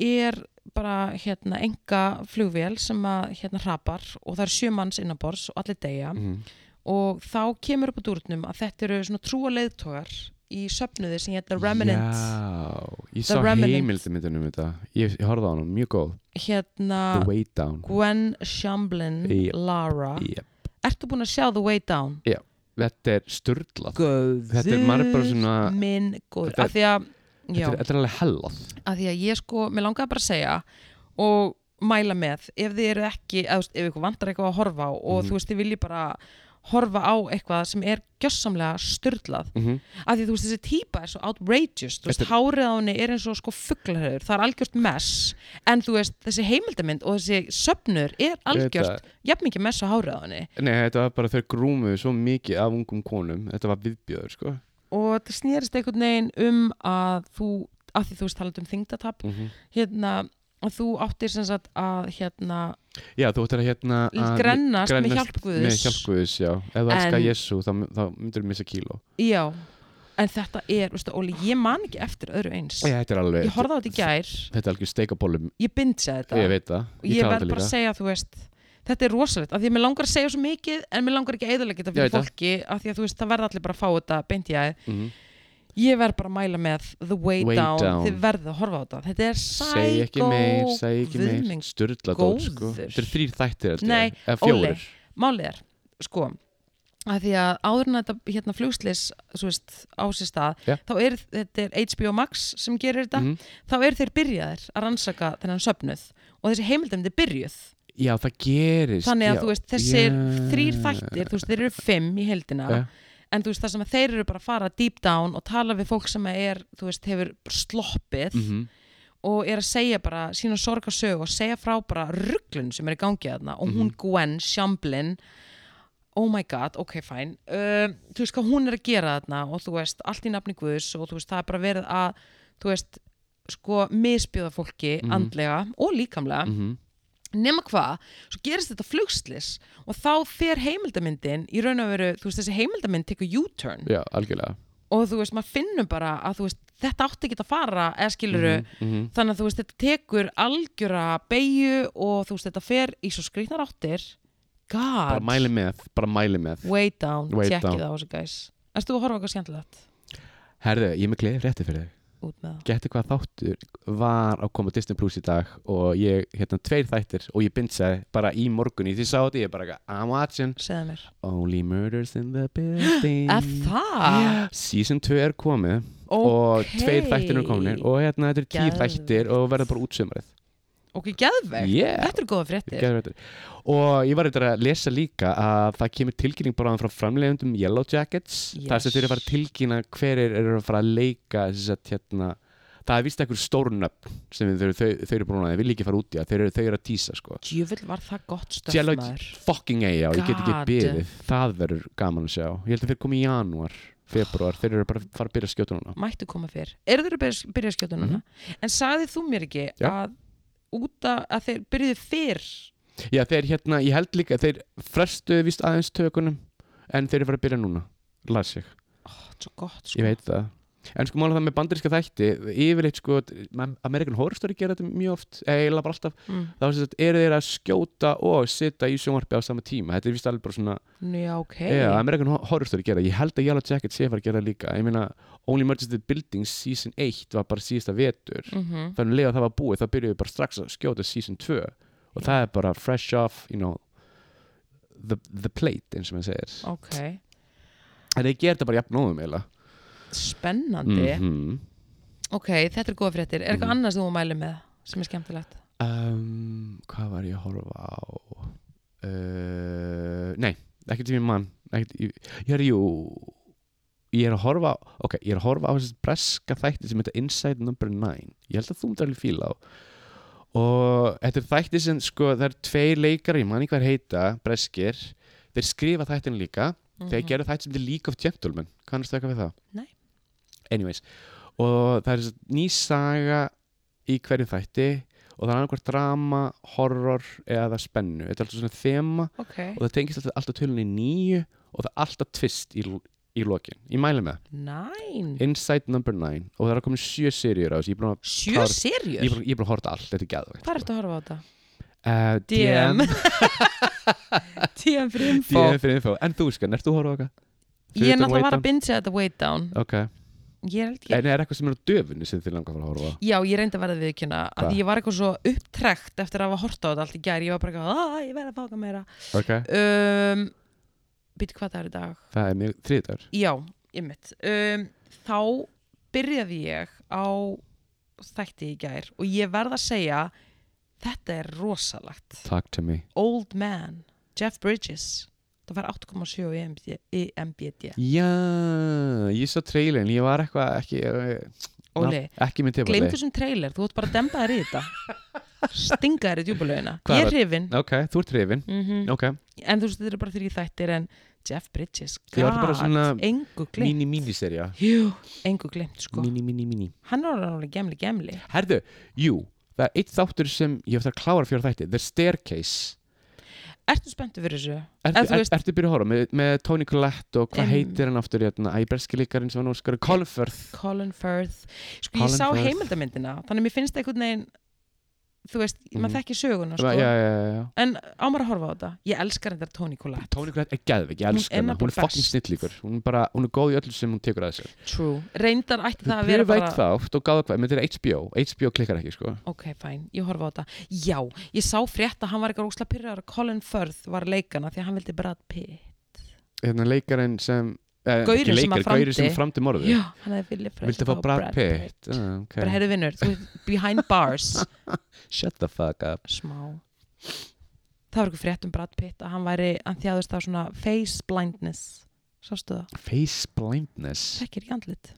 er bara hérna enga flugvél sem að hérna hrapar og það er sjö manns innanborðs og allir deyja
-hmm.
og þá kemur upp á dúrnum að þetta eru svona trúa leiðtogar í söfnuði sem hérna Remnant
Já, ég
The
sá
Remnant.
heimildamindin um þetta Ég, ég horfði á hann, mjög góð
hérna
The Way Down
Gwen Shamblin
Yep.
Lara
yep.
Ertu búin að sjá The Way Down?
Þetta er störlað
Góður
Þetta er maður bara svona-
Minn góður
Þetta-
Af því að, já,
þetta, er- þetta er alveg hellað
af því að ég sko, mér langaði bara að segja og mæla með ef þið eru ekki, eða, þú veist, ef ykkur vantar eitthvað að horfa á og
Mhm.
þú veist, þið viljið bara horfa á eitthvað sem er gjössamlega styrlað
mm -hmm.
að því þú veist þessi típa er svo outrageous þú veist,
Þetta-
hárið á henni er eins og sko fugglahöður það er algjört mess, en þú veist þessi heimildamind og þessi söfnur er algjört, jafn mikið mess á hárið á henni
Nei, þetta var bara þeir grúmuðu svo mikið af ungum konum Þetta var viðbjöður, sko
og þetta snýrist einhvern veginn um að þú, að því þú veist talað um þingdatap,
mm -hmm.
hérna að þú áttir sem sagt að hérna
Já, þú ættir að hérna að
grennast með
grennast
hjálp Guðs
Með hjálpguðis, já Ef þú
En-
elskar Jésu, þá, þá myndir missa kíló
já, en þetta er, veistu Óli, ég man ekki eftir öðru eins
Já, Þetta er alveg
ég horfði á þetta í gær,
Þetta er alveg steikabólum,
ég bindsa þetta
ég veit það
og ég
klára
verð
þetta
bara að
líka.
segja þú veist þetta er rosalegt, af því að mér langar að segja svo mikið en mér langar ekki að eðalega þetta
Ég
fyrir
veit það.
fólki af því að þú veist, það verða allir bara að fá þetta beint í aðeins,
Mhm.
ég verð bara að mæla með The Way,
Way
down.
Down.
þið verðu að horfa á þetta þetta er psycho
Segj ekki meir, segj ekki
guð
meir
minn.
Sturla dót, sko
góður.
Þetta er þrýr þættir, held
Nei,
ég Eða
Óli.
fjórir
málið er, sko að því að áður en þetta hérna flugslis svo veist, á sér stað
Já.
þá er, þetta er HBO Max sem gerir þetta
Mhm.
þá eru þeir byrjaðir að rannsaka þennan söfnuð og þessi heimildum þið byrjuð
Já, það gerist
þannig að
já.
þú veist, þessir
Já.
þrýr þættir þú veist, þeir eru fimm í heildina
Já.
en þú veist, það sem að þeir eru bara að fara deep down og tala við fólk sem er, þú veist, hefur sloppið
Mhm.
og er að segja bara sína sorgarsög og segja frá bara rugglun sem er í gangi þarna og
Mhm.
hún Gwen Shamblin oh my god, ok, fine uh, þú veist hvað hún er að gera þarna og þú veist, allt í nafni Guðs og þú veist, það er bara verið að, þú veist sko, misbjóða fólki
Mhm.
andlega og líkamlega
Mhm.
nema hvað, svo gerist þetta flugslis og þá fer heimildamyndin í raun og veru, þú veist, þessi heimildamynd tekur U-turn
Já, algjörlega
og þú veist, maður finnur bara að þú veist, þetta átti ekki að fara eða skiluru,
Mhm, mhm.
þannig að þú veist, þetta tekur algjöra beigju og þú veist, þetta fer í svo skrýtnar áttir
Bara
God,
mæli með, bara mæli með
way down,
Way down.
tjekkið það á þessu guys Erst þú að horfa á eitthvað skemmtilegt
Herðu, ég er með gleði frétti fyrir þig
út með það?
Gæti hvað þáttur var að koma á Disney Plus í dag og ég, hérna, tveir þættir og ég bindsaði bara í morgun í því sá þetta, ég bara, eitthvað, I'm watching
Segðu mér
Only Murders in the Building
Er það?
Já, Season 2 er komið og
Ok.
tveir þættir eru komin og hérna, þetta er tíu
Geðveikt.
þættir og verða bara útsumarið
Ok, geðvegt
Yeah.
Þetta eru góða fréttir
Geðveikt. Og ég var eitthvað að lesa líka að það kemur tilkynning bara frá framlegundum Yellow Jackets
Yes.
þar sem þeir eru að fara að tilkynna hverir eru að fara að leika þess að hérna það er vist ekkur stórnöfn sem þau, þau, þau eru búin að þeir vilja ekki fara út í að þeir eru, þau eru að tísa sko
Djöfull var það gott
Yellow
stöfn maður
fucking ei og ég get ekki
God.
beðið það verður gaman að sjá ég held að þeir komi í janúar, februar þeir eru bara að fara að byrja að skjóta núna
mættu koma fyrr eru þeir að byrja, byrja skjótununa mm en sagði þú mér ekki
Mhm. Já.
að út af að þeir byrjuðu fyrr
Já þeir hérna, ég held líka að þeir frestuðu vist aðeins tökunum en þeir eru að fara að byrja núna las ég,
Ó, þetta er svo gott sko.
ég veit það en sko mála það með bandaríska þætti yfirleitt sko, American Horror Story gera þetta mjög oft, eiginlega bara alltaf
mm.
þá sem sagt, eru þeir að skjóta og sitja í sjónvarpi á sama tíma, þetta er vist alveg bara svona
Nú, Já, ok
hey. American Ho- Horror Story gera, ég held að Yellow Jacket sé að fara að gera það líka, ég meina Only Murders in the Building season 1 var bara síðasta vetur
Mhm.
þannig að lega það var búið, þá byrjuðu bara strax að skjóta season 2 og það er bara fresh off, you know the, the plate, eins og maður segir
Ok,
en þeir gera þetta bara jafnóðum eiginlega
spennandi
Mhm.
Ok, þetta er góða fréttir Er eitthvað
Mhm.
annars þú mæli með sem er skemmtilegt?
um, hvað var ég að horfa á uh, nei, ekkert sem ég mann ekkert, ég, ég er jú ég er að horfa á, ok, ég er að horfa á þessi breska þætti sem heita Inside Number 9 ég held að þú myndir alveg fíla á og þetta er þætti sem sko það er tveir leikar, ég man ekki hvað þeir heita breskir, þeir skrifa þættin líka
Mhm.
þegar ég gerði þætti sem þetta League of Gentlemen kannast þau eitthvað við það?
Nei.
Anyways, og það er þess að ný saga í hverju þætti og það er annað drama, horror eða spennu, þetta er alltaf svona þema
Ok,
og það tengist alltaf, alltaf tölunni nýju og það er alltaf twist í, l- í lokin ég mæli með,
næn
það. Inside Number 9 og það er að koma sjö seríur á þessu ég er búin að-
Sjö
Klar- ég er
serjur?
búin- ég er búin að horta allt, þetta er gæðvægt
Hvað ertu að horfa á þetta?
Uh,
DM DM fyrir info
DM fyrir info, en þú skan, ert þú að horfa á okkar?
Ég er náttúrulega var að bindja þetta weight down
Ok,
Ég er ekki
en er eitthvað sem er á döfunni sem þið langar að fara að horfa á?
Já, ég reyndi að verða viðkjöna að
Hvað?
því ég var eitthvað svo upptrekt eftir að hafa horta á þetta allt í gær, ég var bara eitthvað að ég verð að fáka meira
Ok
um, Býtu hvað það er í dag?
Það er mjög þriðdagar
Já, ég mitt um, Þá byrjaði ég á þætti í gær og ég verð að segja þetta er rosalagt
Talk to me
Old Man, Jeff Bridges það var 8,7 í MBD, í MBD.
Já, ég sá trailin, ég var eitthvað ekki
Óli,
na- Ekki minn tilbúið
gleymdu þessum trailer þú ert bara að dempa þér í þetta stinga þér í djúbulögina
Hvað
ég
var-
er hrifin
Ok, þú ert hrifin
mm
Ok,
en þú veist þetta eru bara þrjú þættir en Jeff Bridges,
Ég var bara
gæt,
svona
engu glimt
mini miniserja
Jú, engu glimt sko
Mini mini mini
hann var alveg gemli gemli
Herðu, jú, það er eitt þáttur sem ég hef það að klára fjóra þætti The Staircase
Ertu spenntu fyrir þessu?
Ertu,
En þú
er,
veist-
ertu byrjuð að horfa með, með Tony Collette og hvað
Em.
heitir hann aftur hérna, æberskilíkarinn sem hann óskar Colin Firth
Colin Firth Sko
Colin
ég sá
Firth.
heimildamyndina þannig að mér finnst einhvern veginn þú veist,
Mhm.
maður þekki söguna sko
Já, já, já, já
en ámar að horfa á þetta ég elskar þetta Tony Collette
Tony Collette er geðvik, ég
Hún
elska
er
hana, hún er
nefnilega
fucking
best.
snillíkur hún, er bara- hún er góð í öllu sem hún tekur að þessu
True. reyndar ætti það
Þau
að vera
pröfaði
bara
eitt þátt og gáðu hvað, menn þetta er HBO HBO klikkar ekki, sko
ok, fæn, ég horfa á þetta já, ég sá frétt að hann var eitthvað ósla pyrrar Colin Firth var leikana því að hann vildi Brad Pitt
Hérna leikarinn sem eh,
Gaurinn
ekki
sem að framdi.
Gaurinn sem framdi morðu
já, hann hefði vilja
Viltu fá Brad Pitt? Ah,
bara
okay.
heyrðu vinnur, þú ert behind bars
Shut the fuck up
smá það var eitthvað frétt um Brad Pitt að hann væri, hann þjáðist af svona face blindness sástu það,
Face blindness
þekkir ekki andlit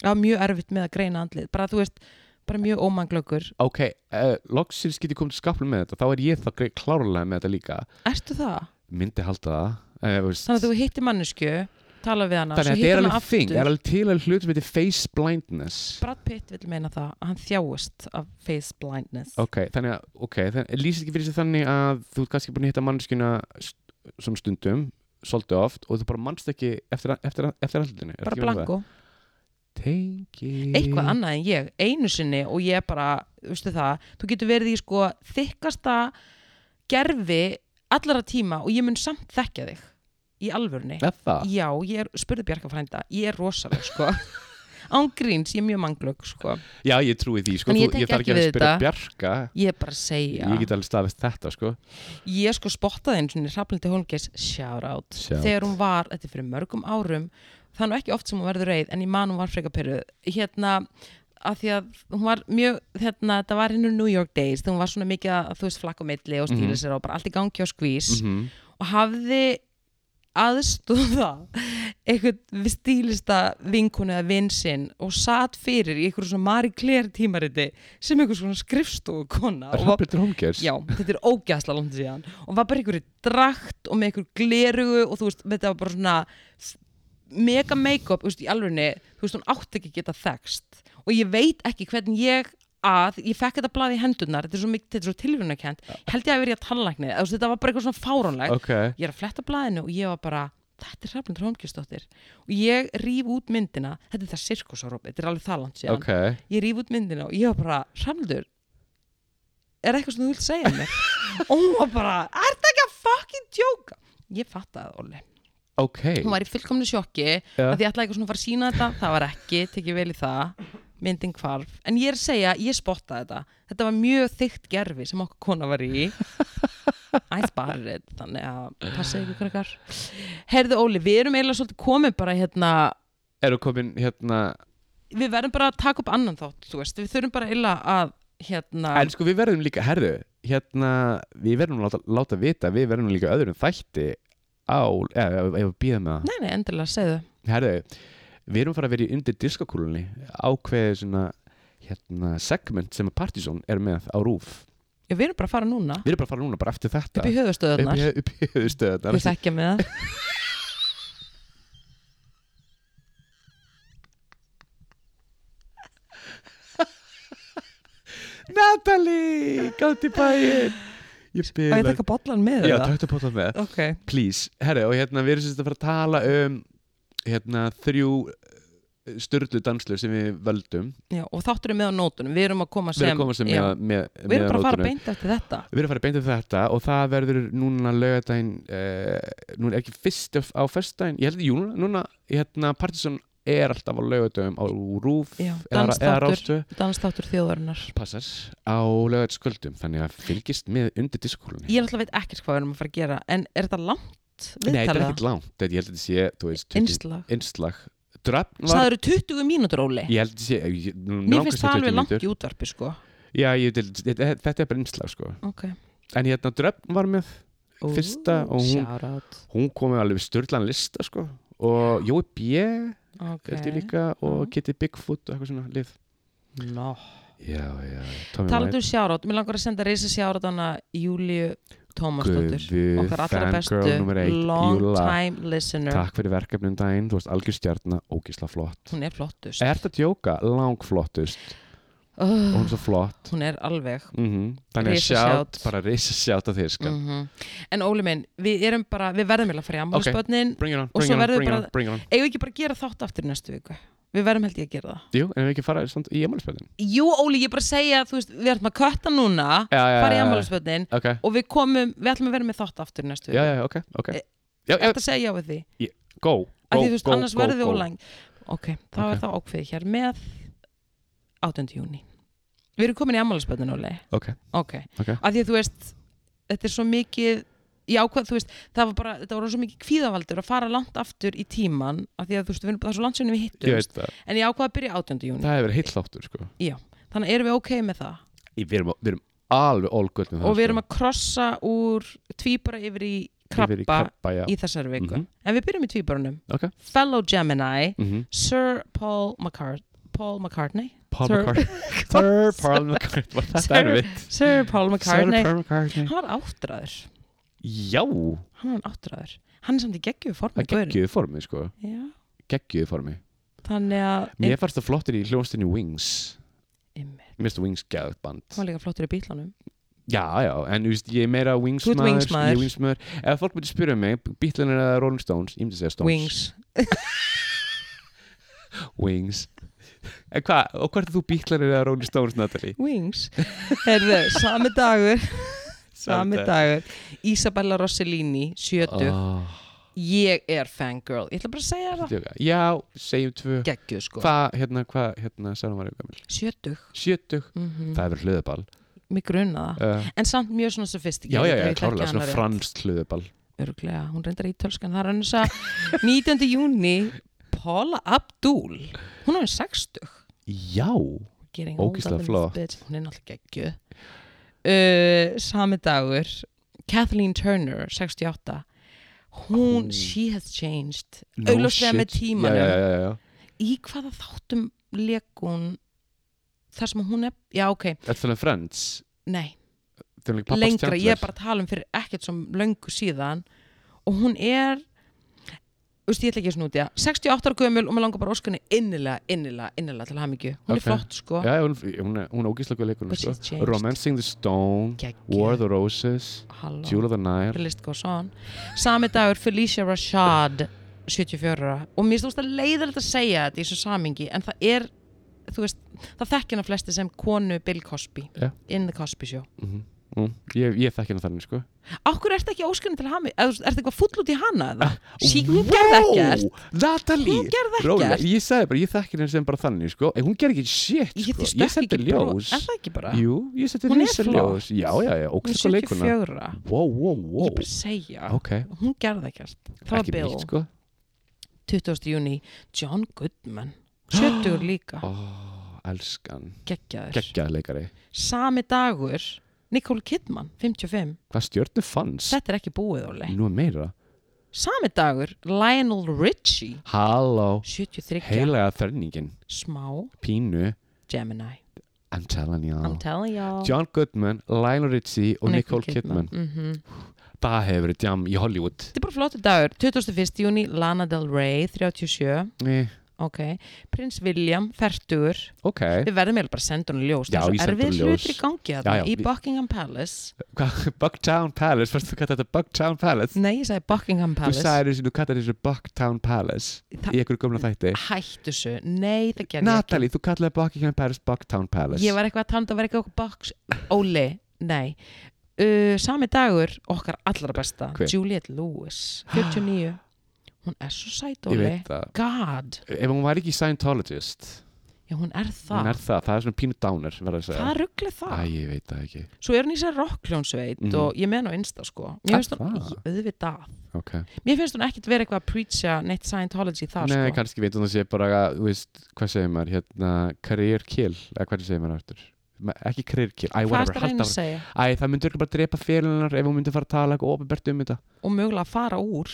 það var mjög erfitt með að greina andlit bara þú veist, bara mjög ómanglöggur
Ok, uh, loksins getur komið til skaplu með þetta þá er ég þá grei- klárlega með þetta líka
ertu það?
myndi halda það uh,
þannig að þú hittir mannesku tala við hana,
Þannig
svo
að þetta
hittir
er
hana
alveg
aftur
þing, það er alveg til að hlut sem heitir face blindness
Brad Pitt vil meina það að hann þjáist af face blindness
Ok, þannig að, ok, þannig, lýsir ekki fyrir sig þannig að þú ert kannski búin að hitta manneskjuna st- sem stundum, svolítið oft og þú bara mannst ekki eftir, eftir, eftir allinu
bara blanko,
Tengi Mhm.
eitthvað annað en ég einu sinni og ég bara, veistu það þú getur verið í sko þykkasta gerfi allara tíma og ég mun samt þekkja þig í alvörni
Er það?
já, ég er, spurði Bjarka frænda, ég er rosaleg sko án gríns, ég er mjög manglögg sko
Já, ég trúi því, sko,
En ég
þú,
tek
ég þarf
ekki
ekki að
við
spyrja
þetta.
Bjarka
ég er bara að segja,
Ég get alveg staðist þetta, sko
ég sko spottaði einu sinni Hrafnildi Holmgeis, shout out
Shout.
þegar hún var, þetta er fyrir mörgum árum það er nú ekki oft sem hún verður reið, en ég man hún var freka pyrruð hérna, að því að hún var mjög, hérna, þetta var hennu New York Days, þegar hún var svona mikið að, þú veist, flakk á milli og stíla
Mhm.
sér og bara allt í gangi og skvís
mm -hmm.
og hafði aðstóða eitthvað við stílista vinkunu eða vinsinn og satt fyrir í eitthvað svona Marie Claire tímariti sem eitthvað svona skrifstofu kona og var,
Robert Romgers
já, þetta er ógæsla langt síðan og var bara eitthvað drakt og með eitthvað glerugu og þú veist, þetta var bara svona s- mega make-up, þú veist, í alvegni þú veist, hún átti ekki að geta þekst og ég veit ekki hvernig ég að ég fekk þetta blað í hendunar, þetta er svo, mikið- þetta er svo tilvíðunarkend, held ég að verið að tannlækni, þú veist, þetta var bara eitthvað svona fáránlegt
Ok,
ég er að fletta blaðinu og ég var bara þetta er Hrafnundur Holmgjörnsdóttir og ég rýf út myndina þetta er það sirkusarópi, þetta er alveg það langt síðan
ok,
ég rýf út myndina og ég var bara Hrafnundur, er eitthvað sem þú vilt segja mér og hún var bara, er þetta ekki að fucking djóka ég fattaði það, Olli
ok
hún var í fullkomni sjokki
Já.
að því ég ætlaði eitthvað svona að fara að sína þetta það var ekki, tekið vel í það myndin hvarf, en ég er að segja, ég spottaði þetta þetta var mjög þykkt gerfi sem okkar kona var í I spotted it, þannig að passa ykkur krakkar Herðu Óli, við erum eiginlega svolítið komin bara hérna
eru komin hérna
við verðum bara að taka upp annan þátt, þú veist við þurfum bara eiginlega að hérna
en sko við verðum líka, herðu hérna, við verðum að láta, láta vita við verðum líka öðrum þætti á, eða, ef við býðum með það
Nei, nei, endilega, segðu
herðu, við erum fara að vera í undir diskokúlunni ákveðið svona hérna, segment sem að Partizón er með á rúf
Já, við erum bara að fara núna,
við erum bara að fara núna bara eftir þetta
upp í höfustöðunar
höfðunar upp í höfðustöðunar
Við þekkja með það
Natalie, gátt í bæinn ég
Á ég að
bila
taka bollan með
já,
það
takk til að bóta með
Ok,
please, herri, og hérna við erum sérst að fara að tala um hérna þrjú störlu danslur sem við völdum
já, og þáttur er með á nótunum Við erum að koma
við
sem
erum komast
já.
með, með,
Við erum bara að fara
nótunum.
beint eftir þetta
við erum að fara beint af þetta og það verður núna lögadaginn uh, núna er ekki fyrst á fyrstdaginn ég held, jú, núna, hérna Partisan er alltaf á lögadagum á Rúf
Já,
eða, eða
dansþáttur.
Rástu
Dansþáttur þjóðarinnar
passar á lögadagskvöldum þannig að fylgist með undir diskólunni
Ég náttúrulega veit ekkert hvað við erum að fara að gera En er þetta langt?
Nei, þetta er
viðtalið?
ekkert langt, þetta ég held að þetta sé, þú veist, 20
Innslag
innslag. Drafn var
Sæður 20 mínútur, Óli
Ég held að sé ég- ég- nú-
Mér
nálgast
finnst það
20
alveg langt
mínútur.
í útvarpi, sko
Já, ég, til, þetta þetta er bara innslag sko
Ok
En hérna Dröfn var með Fyrsta og hún-
Shoutout
Hún kom með alveg störlan lista sko Og Jói B held ég
Ok
líka Og
Já.
Kitty Bigfoot og eitthvað svona lið
no.
Já, já, Tommy
Talandu um shoutout Mér langar að senda reysa shoutout hana Júliu Tómasdóttur
Guði,
um Okkar allra bestu
fangirl númer eitt,
Long
Júlla.
time listener
Takk fyrir verkefni um daginn, þú varst algjör stjarna, ógisla flott
Hún er flottust
Er þetta djóka? Langflottust Og Eh, hún
oh,
er svo flott
Hún er alveg
mm Þannig að
Risashout.
sjátt, bara reysa sjátt að þér sko
-hmm. En Óli minn, við erum bara, við verðum eiginlega að fara í ammálspötnin
Bring it on,
Og
bring
svo
it on,
verður
bring it on,
bara-
bring it on
Eigum við ekki bara að gera þátt aftur í næstu viku Við verðum held ég að gera það
Jú, en ef við ekki fara samt í emálisbjörnin
Jú Óli, ég er bara að segja, þú veist, við erum að kötta núna
Já, já,
Fara í
já, já.
ammálspötnin
Ok,
Og við komum, við ætlum að vera með þátt aftur í næstu
já,
viku
já, ok, ok
Eh,
Já, já,
Þetta segja já við því
go,
Af
go,
því þú veist,
go,
annars
go,
verðum við
go.
ólang Ok, þá
Ok.
er það ákveðið hér með 8. júni Við erum komin í ammálspötnin, Óli
Ok,
Ok,
Ok.
af því að þú veist Þetta er svo mikið Já, hvað, þú veist, það var bara, þetta var svo mikið kvíðavaldur að fara langt aftur í tíman af því að þú veist, við erum, það er svo langt sem við hittum
ég veit það
en ég ákvað að byrja 18. júni
Það hefur verið heill þáttur, sko
þannig erum við ok með það
Í- Við erum, við erum alveg all good með það
og við erum að krossa úr tvíbara yfir í
sko.
krabba,
Yfir
í,
í krabba, já
þessari viku
Mhm.
en við byrjum í tvíbarunum
Ok.
Fellow Gemini,
mm -hmm.
Sir Paul, McCart Paul McCartney
Paul
Sir-
McCartney Sir Paul McCartney Var þetta
Sir-
erfitt?
Sir Paul McCartney
Sir Paul McCartney
hann var áttræður
Já,
hann var áttræður hann er samt í geggjöf
það
formi gaurinn.
geggjuði formi, sko
Já.
Geggjuði formi
þannig að
Mér fannst það flottir í hljónstinni Wings
Einmitt.
Mér finnst Wings gæðið band
hann var líka flottur í bílunum
Já, já, en þú veist, ég er meira Wings
Þú ert
maður,
Wings maður.
Ég er Wings maður Ef fólk myndi spyrja mig, Beatlenar eða Rolling Stones Ég myndi segja Stones
Wings
Wings En hvað, og hvert er þú bíklarinn eða Rolling Stones, Natalie?
Wings Herðu, sami dagur Sami dagur Isabella Rossellini, 70
oh,
Ég er fangirl Ég ætla bara að segja það
Já, segjum tvö
Gekkju sko
Hvað, hérna, hvað, hérna, sagði hún var eitthvað
70
Sjötug
mm
Það hefur hlöðuball
Mér grunna það
uh,
En samt mjög svona sophisticated
Já, já, já,
ég þekki
klárlega,
hana
svona
rétt.
franskt hlöðuball
Örugglega, hún reyndar ítölskan Það er annars að 19. júni Paula Abdul Hún er 60
Já,
Getting
Ógeðslega
older, little
flott.
bitch. Hún er náttúrulega geggju uh, Sami dagur Kathleen Turner, 68 Hún,
Ó.
she has changed
No
Augljóslega
shit.
með tímanum
Já, já, já, já, já.
Í hvaða þáttum leikun þar sem hún er Já, ok,
Þetta er þannig um Friends
nei,
Þau eru líka pappas
lengra
Chandler.
Ég er bara að tala um fyrir ekkert sem löngu síðan og hún er veist, ég ætla ekki að snúti 68 ára gömul og mér langar bara óskunni innilega, innilega, innilega til hamingju hún
Ok.
er flott sko
Já, hún, hún, er- hún er ógíslega góð leikur
But she's
sko.
changed.
Romancing the Stone
Geggjuð.
War of the Roses
Halló,
Jewel of the Nile
List goes on Sami dagur Felicia Rashad 74 ára og mér stóðst að leiðilegt að segja þetta í þessu samingi en það er, þú veist, það þekki hana flesti sem konu Bill Cosby
Já.
in the Cosby show.
mm -hmm. Ég, ég þekki hana þannig sko
Akkur ertu ekki óskunni til hami eða þú veist, ertu eitthvað full út í hana eða? Sí, hún gerði ekkert
Natalie
Hún gerði ekkert.
Róleg, Ég sagði bara, ég þekki henni sem bara þannig sko. En Hún gerði ekki shit
Ég
sko.
hefði stökk
sendi
ekki bró-
ljós
Er það ekki bara?
Jú, ég setti
Hún er
risa
flott.
ljós Já, já,
Hún
já,
er
ógíslega leikuna
74 ára.
Wow, wow,
Ég
wow
er bara að segja
Ok,
Hún gerði ekkert Það var
ekki
Bill
neitt sko
20. júni John Goodman 70 líka
Ó, Elskan,
Geggjaður
geggjað leikari
sami dagur Nicole Kidman, 55
Hvað stjörnu fannst?
þetta er ekki búið óli
Nú er meira
sami dagur Lionel Richie
Halló,
73,
heilaga þörningin
smá
Pínu,
Gemini
I'm telling
I'm
you
telling y'all
Ah. John Goodman, Lionel Richie og Nicole Kidman
Mhm.
Það hefur verið djam í Hollywood
þetta er bara flottu dagur 21. júni Lana Del Rey 37
eh,
ok prins William, fertugur
Ok,
við verðum eiginlega bara að senda hún ljós
Já,
það er
ég
svo
sendi honum
erfiðir
ljós.
hlutir í gangi
Já, já,
þarna í
við-
Buckingham Palace
Hvað- Bucktown Palace, fannst þú kallað þetta Bucktown Palace?
nei ég sagði Buckingham
Þú
Palace
sagði þessu, þú kallar þessu Bucktown Palace
Þa-
í einhverju gömla þætti
hættu þessu, nei það gerði ég ekki
Natalie, þú kallar Buckingham Palace Bucktown Palace
Ég var eitthvað að tanda að vera eitthvað box Óli, nei uh, Sami dagur, okkar allra besta
Hver?
Juliette Lewis, 49 Hún er svo sæt,
Ég
Óli
veit það
God,
Ef hún var ekki Scientologist
já hún er
Hún
það
er það, það er svona pínu downer verður að segja
Það ruggli það
Æ, ég veit það ekki
Svo er hún í sér rockljónsveit
Mhm.
og ég meðan á Insta sko
Er
Mér finnst hún,
það?
Í- auðvitað
okay.
Mér finnst hún ekkit vera eitthvað að preacha neitt Scientology þar
Nei,
sko
kannski veit hún að sé bara að, þú veist, hvað segir maður, hérna, career kill, eða hvað segir maður aftur? Ma- Ekki career kill, æ,
Hvað er
whatever,
það að reyna
halda
að
áfram.
segja
Æ, það myndi örgulega bara drepa félunar ef hún myndi fara að tala eitthvað ofinbært um þetta.
og mögulega að fara úr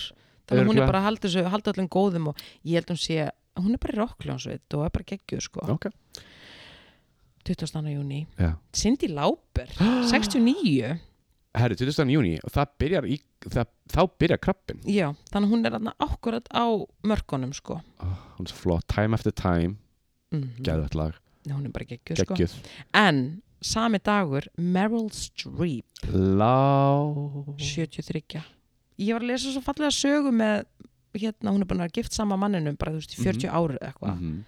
Þannig að hún er
Örugglega.
bara að halda þessu, halda öllum góðum og ég held hún sé, hún er bara í rockljónsveit og er bara geggjur sko
Ok.
20. júni
Já.
Cindy Lauper, 69
Herri, 20. júni, og það byrjar í, það, þá byrjar krabbin.
Já, þannig að hún er aðna akkurat á mörkunum sko
Oh, hún er svo flott, time after time,
mm.
geðvægt lag,
Hún er bara geggjur sko
geggjuð.
En sami dagur, Meryl Streep
Lá.
73 Ég var að lesa svo fallega sögu með hérna, hún er búin að vera gift sama manninum bara þú veist í 40 mm ári eða eitthvað
Mhm.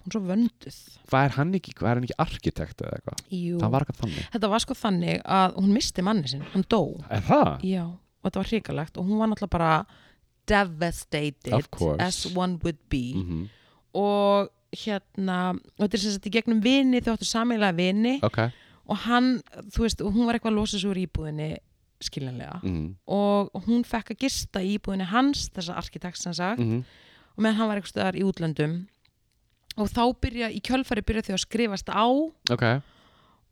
Hún er svo vönduð
Hvað er hann ekki, hvað er hann ekki arkitekt eða eitthvað?
Jú.
Það var eitthvað þannig.
Þetta var sko þannig að hún misti manni sinn, hann dó
Er það?
Já, og þetta var hrikalegt og hún var náttúrulega bara devastated
Of course.
as one would be
Mm
og hérna og þetta er sem sagt í gegnum vini þau áttu sameiginlega vini
Ok.
og hann, þú veist, og hún var eitthvað að losa sig úr íbúðinni skiljanlega
Mm
og hún fekk að gista í íbúðinni hans þessa arkitekt sem sagt
-hmm.
og meðan hann var eitthvað stöðar í útlöndum og þá byrja, í kjölfari byrja þau að skrifast á
Ok.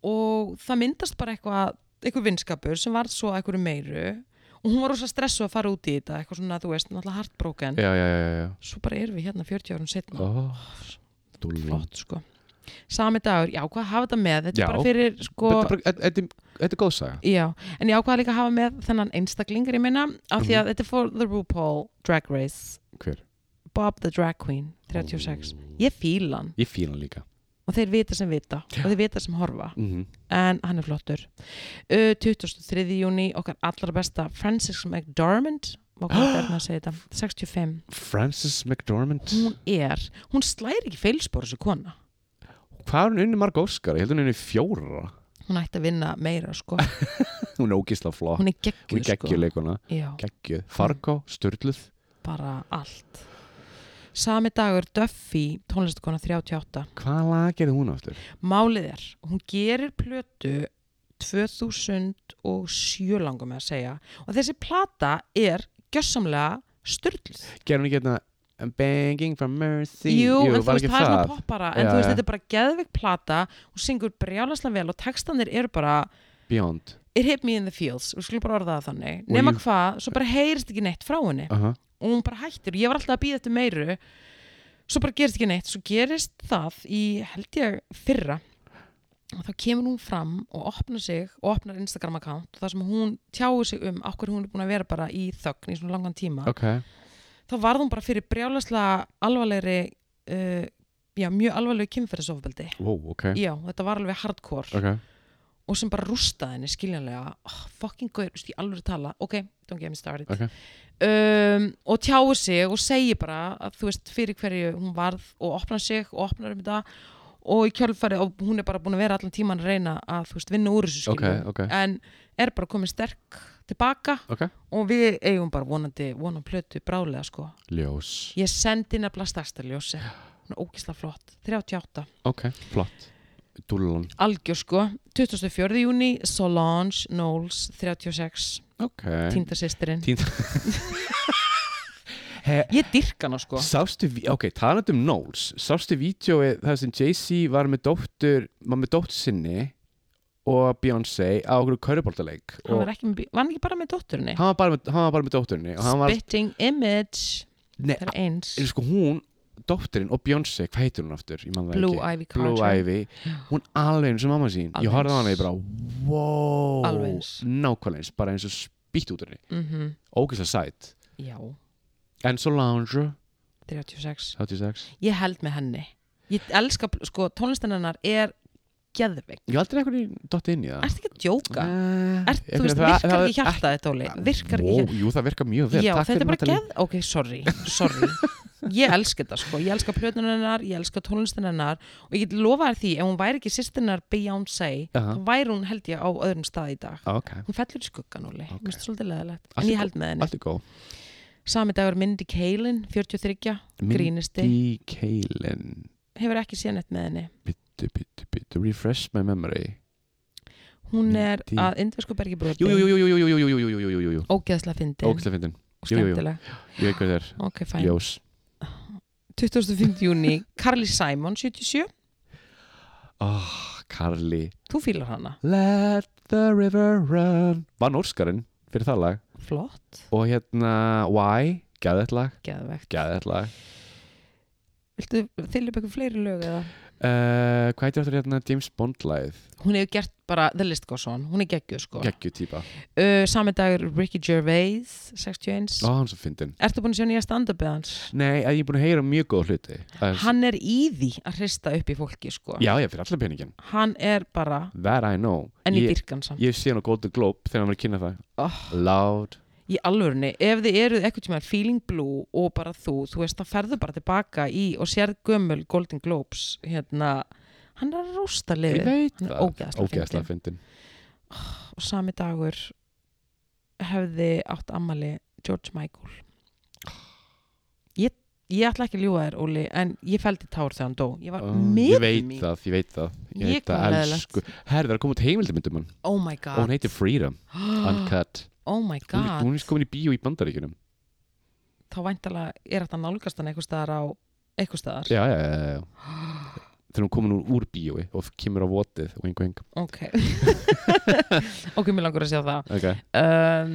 og það myndast bara eitthvað eitthvað vinskapur sem varð svo að eitthvað meiru og hún var rosa stressu að fara út í þetta eitthvað svona, þú veist, náttúrulega heartbroken
Já, já, já, já, já.
svo bara erum við hérna 40 árum setna
Oh, dúlling.
flott sko sami dagur, ég ákvað að hafa þetta með þetta
Mm. Já.
er bara fyrir sko
Þetta er bara- e- þetta- Þetta þetta er góð saga
já, en ég ákvað líka að hafa með þennan einstaklingar ég minna af því
Mhm.
að þetta er for the RuPaul Drag Race
Hver?
Bob the Drag Queen 36,
Mm.
ég fíla hann
Ég fíla hann líka
og þeir vita sem vita og þeir vita sem horfa
mm
en hann er flottur uh, 23. júni, okkar allra besta Frances McDormand og hvað er maður að segja þetta, 65
Frances McDormand
hún er, hún slæri ekki feilspor þessu kona
Hvað er hún unni marg Óskar? Ég held hún unni fjóra
hún ætti að vinna meira sko
Hún er ógisla flott
hún er
Hún er
geggjuð sko
geggjuleikuna
Já,
Geggjuð Fargo, Sturluð
bara allt sami dagur Duffy tónlistakona 38
Hvað lag gerði hún aftur?
málið er, hún gerir plötu 2007 langum með að segja og þessi plata er gjössamlega styrluð
Gerði hún ekki hérna I'm begging for mercy
Jú, en þú
var
veist,
ekki
það er svona poppara en
Já,
þú veist,
já.
þetta er bara geðveik plata og syngur brjálaslega vel og textanir eru bara
Beyond
it hit me in the feels, við skulum bara orða það þannig
Og
nema
ég-
hvað, svo bara heyrist ekki neitt frá henni
uh -huh.
og hún bara hættir, og ég var alltaf að býða eftir meiru svo bara gerist ekki neitt, svo gerist það í held ég fyrra og þá kemur hún fram og opnar sig og opnar Instagram account og það sem hún tjáir sig um okkur hún er búin að vera bara í þögn í svona langan tíma
ok,
þá varð hún bara fyrir brjálaslega alvarlegri uh, já, mjög alvarlegu kynferðisofbeldi
wow, ok
já, þetta var alveg hardcore
ok,
og sem bara rústaði henni skiljanlega oh, fucking gaur, þú veist, ég alveg tala ok, don't get me started
Ok.
um, og tjáu sig og segi bara að þú veist, fyrir hverju hún varð og opnar sig og opnar um þetta og í kjálfæri, og hún er bara búin að vera allan tíman að reyna að, þú veist, vinna úr þessu
ok,
skiljanlega
ok
en er bara komin sterk tilbaka
ok,
og við eigum bara vonandi vonum plötu brálega sko
ljós
ég sendi nefnilega starstarljósi ógisla flott, 38
ok, flott dúlun,
algjör sko, 24. júni Solange Knowles 36
ok
týnda sýstirinn
Týnda- He-
ég dyrka hana sko
Sástu, vi- ok, talandi um Knowles Sástu vídjóið þar sem Jay-Z var með dóttur, var með dóttur sinni og Beyoncé á okkur köruboltaleik
hann
og
var, ekki, með bí- var hann ekki bara með dótturinni
hann var bara með, hann var bara með dótturinni og hann var,
spitting image
nei,
það er eins,
er sko hún dótturinn og Beyoncé, hvað heitir hún aftur? Ég man það
Blue
ekki.
Ivy
Blue
Carter.
Ivy, hún alveg eins og mamma sín
Alveg
ég horfði á
eins.
hana og ég bara, wow
Alveg eins.
nákvæmlega eins, bara eins og spýtt út úr henni,
mm
ógeðslega sætt
já,
en svo Lounge
36
36,
ég held með henni ég elska, sko, tónlistin hennar er geðveik,
ég hef aldrei einhvern veginn dottið inn í það
ertu ekki að djóka?
Eh,
Er, þú
einhvern
veist,
veginn, það-
virkar
það-
ekki hjartaði tóli virkar
Vó,
ekki hjartaði
Jú, það virkar mjög vel
já,
Takk
þetta
fyrir
er bara
Natalie.
geð ok, sorry, sorry ég elska þetta sko, ég elska plötun hennar ég elska tónlistin hennar og ég get lofa þér því, ef hún væri ekki sýstinnar Beyoncé
Aha.
þá væri hún held ég á öðrum stað í dag
Ah, Ok,
hún fellur í skuggan, Óli, okay. mér
Ok.
finnst það svolítið leðilegt en
Allt í
ég
góð.
held með henni,
allt er góð
sami dagur Mindy Kaling 43, grínisti
Mindy Kaling
hefur ekki séð neitt með henni
Bittu, bittu, bittu, refresh my memory
hún er
Mindy.
að indversku bergi broti
Jú, jú, jú, jú, jú, jú, jú, jú, jú, jú, jú, jú, jú, jú
ógeðslega fyndin
Ógæslega
og
fyndin, jú, jú, jú.
skemmtileg
ég veit hvað það er
ok, fæn
Ljós
25. júni, Carly Simon 77,
Oh, Karli
þú fýlar hana
Let the river run Vann Óskarinn fyrir það lag
flott,
Og hérna, Why, gæðið lag
geðvegt
Gæðið lag
viltu þylja upp eitthvað fleiri lög eða?
uh, Hvað heitir þetta hérna James Bond lagið?
hún hefur gert bara The List Goes On, hún er geggjuð sko
Gekkju típa
uh, sami dagur Ricky Gervais 61,
Ó, hann svo fyndin
ertu búin að sjá nýja stand-upið hans?
Nei, að ég er búin að heyra mjög góð hluti Að-
hann er í því að hrista upp í fólki sko
Já, ég fyrir allar peningin
hann er bara,
That I know
en ég
Ég,
dyrk hann samt
ég sé hann á Golden Globe þegar hann var að kynna það
oh,
Loud
í alvörunni, ef þið eruð eitthvað tíma feeling blue og bara þú, þú veist það ferðu bara tilbaka í og sérð gömul Golden Globes, hérna hann er að rústa
Ég
liðið
veit
hann er
það
ógeðslega
Ógeðslega fyndin
og sami dagur hefði átt ammali George Michael ég, ég ætla ekki að ljúga þér Óli en ég fældi tár þegar hann dó ég var
Ó, Ég
með
veit
mig
það, ég veit það
Ég
veit það,
hvað leiðilegt.
elsku. Herði, það er að koma út heimildamindum hann
oh my
Og
god
hún heitir Freedom Uncut
oh my
Hún er-
god
Hún er komin í bíó í bandaríkjunum
þá væntalega er þetta nálgast hann eitthvað staðar á eitthvað staðar
Já, já, já, já, já Þegar hún komin úr, úr bíói og kemur á votið og einhver heng
ok ok, mér langur að sjá það
Ok
um,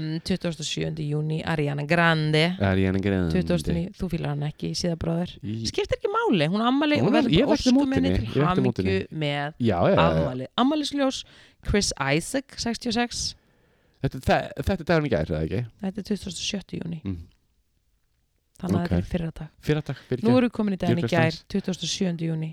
27. júni Ariana Grande
Það er ég enn greið
29, þú fýlar hann ekki, síðabróður skiptir ekki máli, hún á ammali
Hún
og
er-
verður
ég
bara
vakti móti
óskumenni
henni,
til
ég vakti móti
hamingju
henni.
með
Já, já, já, já
afmæli afmælisljós Chris Isaac 66
Þetta, það, þetta er dagurinn í gær, er það ekki?
þetta er 27. júni
Mm.
þannig að
Ok.
þetta er fyrra dag
Fyrir dag, fyrir
nú erum við komin í daginn í
Djöfull
gær
er
27. júni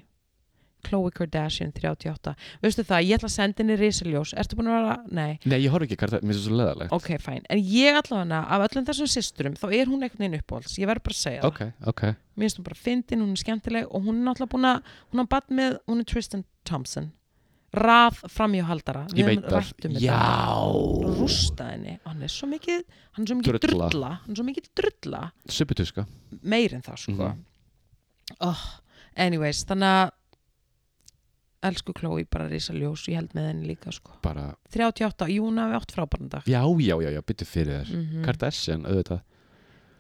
Khloe Kardashian 38 veistu það, ég ætla að senda henni risaljós ertu búin að vera, nei,
Nei, ég horf ekki hvað það, mér finnst það svo leðalegt
ok, fæn en ég allavega, af öllum þessum systurum þá er hún einhvern veginn uppáhalds, ég verð bara að segja
Ok, ok
það mér finnst hún bara fyndin, hún er skemmtileg og hún er náttúrulega búin að, hún er badd með hún er Tristan Thompson rað framhjóhaldara,
Ég
við
veit
höfum rætt um
það
þetta.
Já
rústa henni hann er svo mikið, hann er svo mikið drulla,
Drulla.
hann er svo mikið drulla
Subbutuska
meir en það sko
Mhm.
oh, anyways, þannig að elsku Chloe bara risa ljós ég held með henni líka sko
Bara
38, júna við átt frábærndag
Já, já, já, já, byttu fyrir þér
mm -hmm.
Kardashian, auðvitað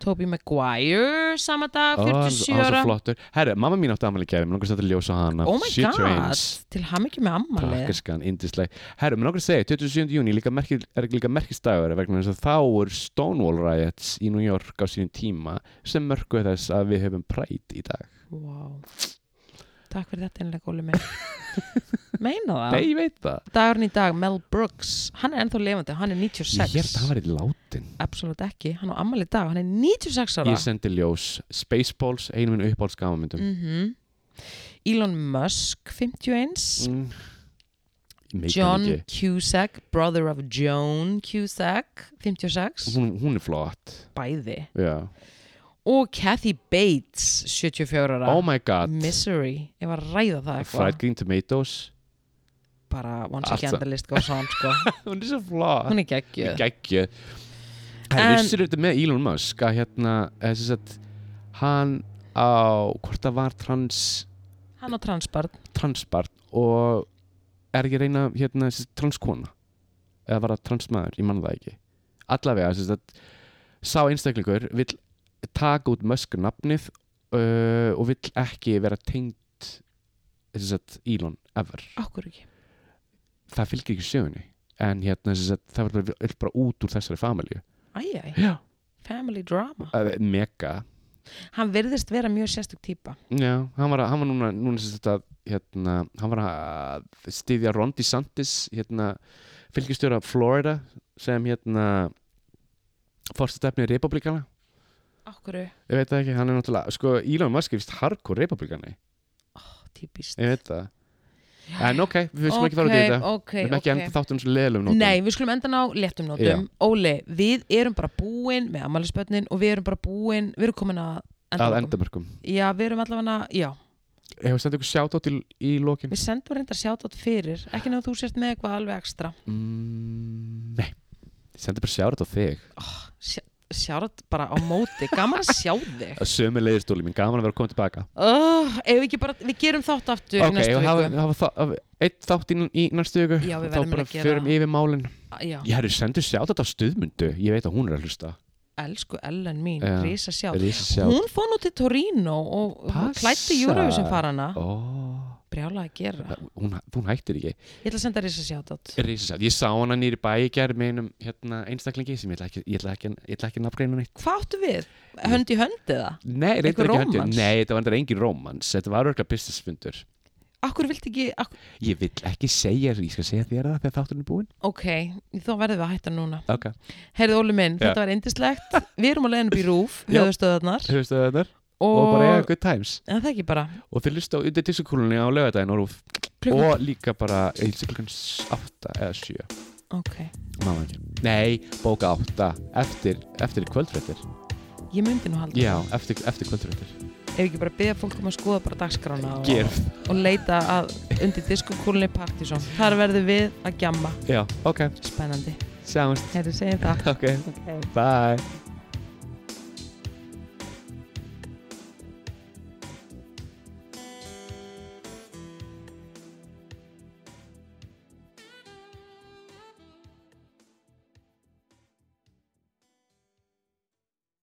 Toby Maguire sama dag,
Ó, hann-
47
Hann er
ára
svo flottur Herri, mamma mín átti ammæli gæri Mér langar að setja ljós á hana
oh my
She
god,
Trains.
til ham ekki með ammali
Prakkarskan, indisleg Herri, mér langar að segja 27. júni líka merkil, er líka merkistagur vegna þess að þá er Stonewall Riots í New York á sínum tíma sem mörkuð þess að við höfum præt í dag
wow. takk fyrir þetta einlega góli mig meina það
Nei, ég veit það
dagurinn í dag, Mel Brooks hann er ennþá levandi, hann er
Ég held að
96
hann var í látin
absolutt ekki, hann á ammali í dag hann er 96 ára
Ég sendi ljós Spaceballs, einu minn uppáhalds gamamyndum mm.
Mhm. Elon Musk 51
Ég meika
Mm. John
hann Mm, ekki.
Cusack, brother of Joan Cusack 56,
hún, hún er flott
bæði
Já.
og Kathy Bates 74 ára
Oh my god
Misery, ég var að ræða það
Fried
eitthvað
Green Tomatoes
bara once
Allt
again
saman.
the list goes on sko.
Hún er svo flott
hún er geggjöð
geggju
En-
Það vissir þetta með Elon Musk að hérna, þess að hann á, hvort það var trans,
hann og transbarn
transbart og er ekki að reyna hérna, sem sagt, transkona eða var það transmaður, ég manna það ekki allavega, þess að sá einstaklingur vill taka út Musk nafnið uh, og vill ekki vera tengt þess að Elon ever
okkur ekki
það fylgir ekki sögunni en hérna, þess að það verður bara, vill bara út úr þessari familju
Æjæ,
Já,
family drama
Eh, mega
hann virðist vera mjög sérstök típa
Já, hann var, að- hann var núna, núna sem þetta, hérna, hann var að styðja Ron DeSantis hérna, fylgistjóra Florida sem hérna fórstastefni republikana
okkur
ég veit það ekki, hann er náttúrulega sko, Elon Musk er vist hardcore republikani
típist
ég veit það en ok, við finnst ekki fara út í
okay,
þetta
okay,
við finnst ekki
ok.
enda þáttum svo leilum nótum
Nei, við skulum enda ná léttum nótum Óli, við erum bara búin með amalisbönnin og við erum bara búin við erum komin að
að
endalokum.
endamörkum
Já, við erum allavega, já
hefur sendið ykkur sjátt á til í lokin
Við sendum reyndar sjátt fyrir ekki nefnum þú sért með eitthvað alveg ekstra
mm, nei, sendið bara sjátt á þig
Sjátt bara á móti, gaman að sjá þig
sömu leiðistóli mín, gaman að vera komið tilbaka
oh, Ef við ekki bara, við gerum þátt aftur
Ok,
í næstu
og hafa,
viku
hafa það, hafa eitt þátt í, í næstu viku
Já, við
Þá
verðum
bara
að gera-
förum yfir málin
Já,
Ég hefði sendið sjátt þetta á stuðmundu Ég veit að hún er að hlusta
elsku Ellen mín,
Já.
risa sjátt
Rísa sjátt
Hún fór nú til Torino og
Passa.
klætti Eurovision farana
Ó,
Brjála að gera
hún, hún hættir ekki
Ég ætla að senda risa sjátt
Rísa sjátt Ég sá hana nýri bæ í gerð með einum hérna, einstaklingi sem ég ætla ekki, ég ætla ekki, ég ætla ekki nafngreina neitt
Hvað áttu við? Hönd í hönd eða?
Nei, reyndar
Einhver
ekki höndjum.
rómans?
Nei, þetta var þetta engin rómans Þetta var örgla businessfundur
Akkur vilt ekki, ak
Ég vil ekki segja, ég skal segja þér það þegar þátturinn er búinn
ok, þá verðum við að hætta núna
Ok,
Heyrðu Óli minn,
Já.
þetta var indislegt Við erum á leiðinu upp í rúf,
Já.
höfðustöðarnar
höfstu það þar
Og,
Og bara eiga
en
good times
það ekki bara
Og þið lustu á undir tísukúlunni á laugardaginn og rúf
Klukkan,
og líka bara ég held að klukkan 8 eða 7
ok,
mamma ekki nei, bóka 8 eftir, eftir kvöldfréttir
ég myndi nú halda
já, eftir, eftir kvöldfréttir
Ef ekki bara byggja fólk um að skoða bara dagskrána
Gerð.
og, og leita að undir diskokúlunni partíson Þar verðum við að gjamma
já, ok,
Spennandi,
sjáumst
heyrðu, segjum það
ok,
okay.
bye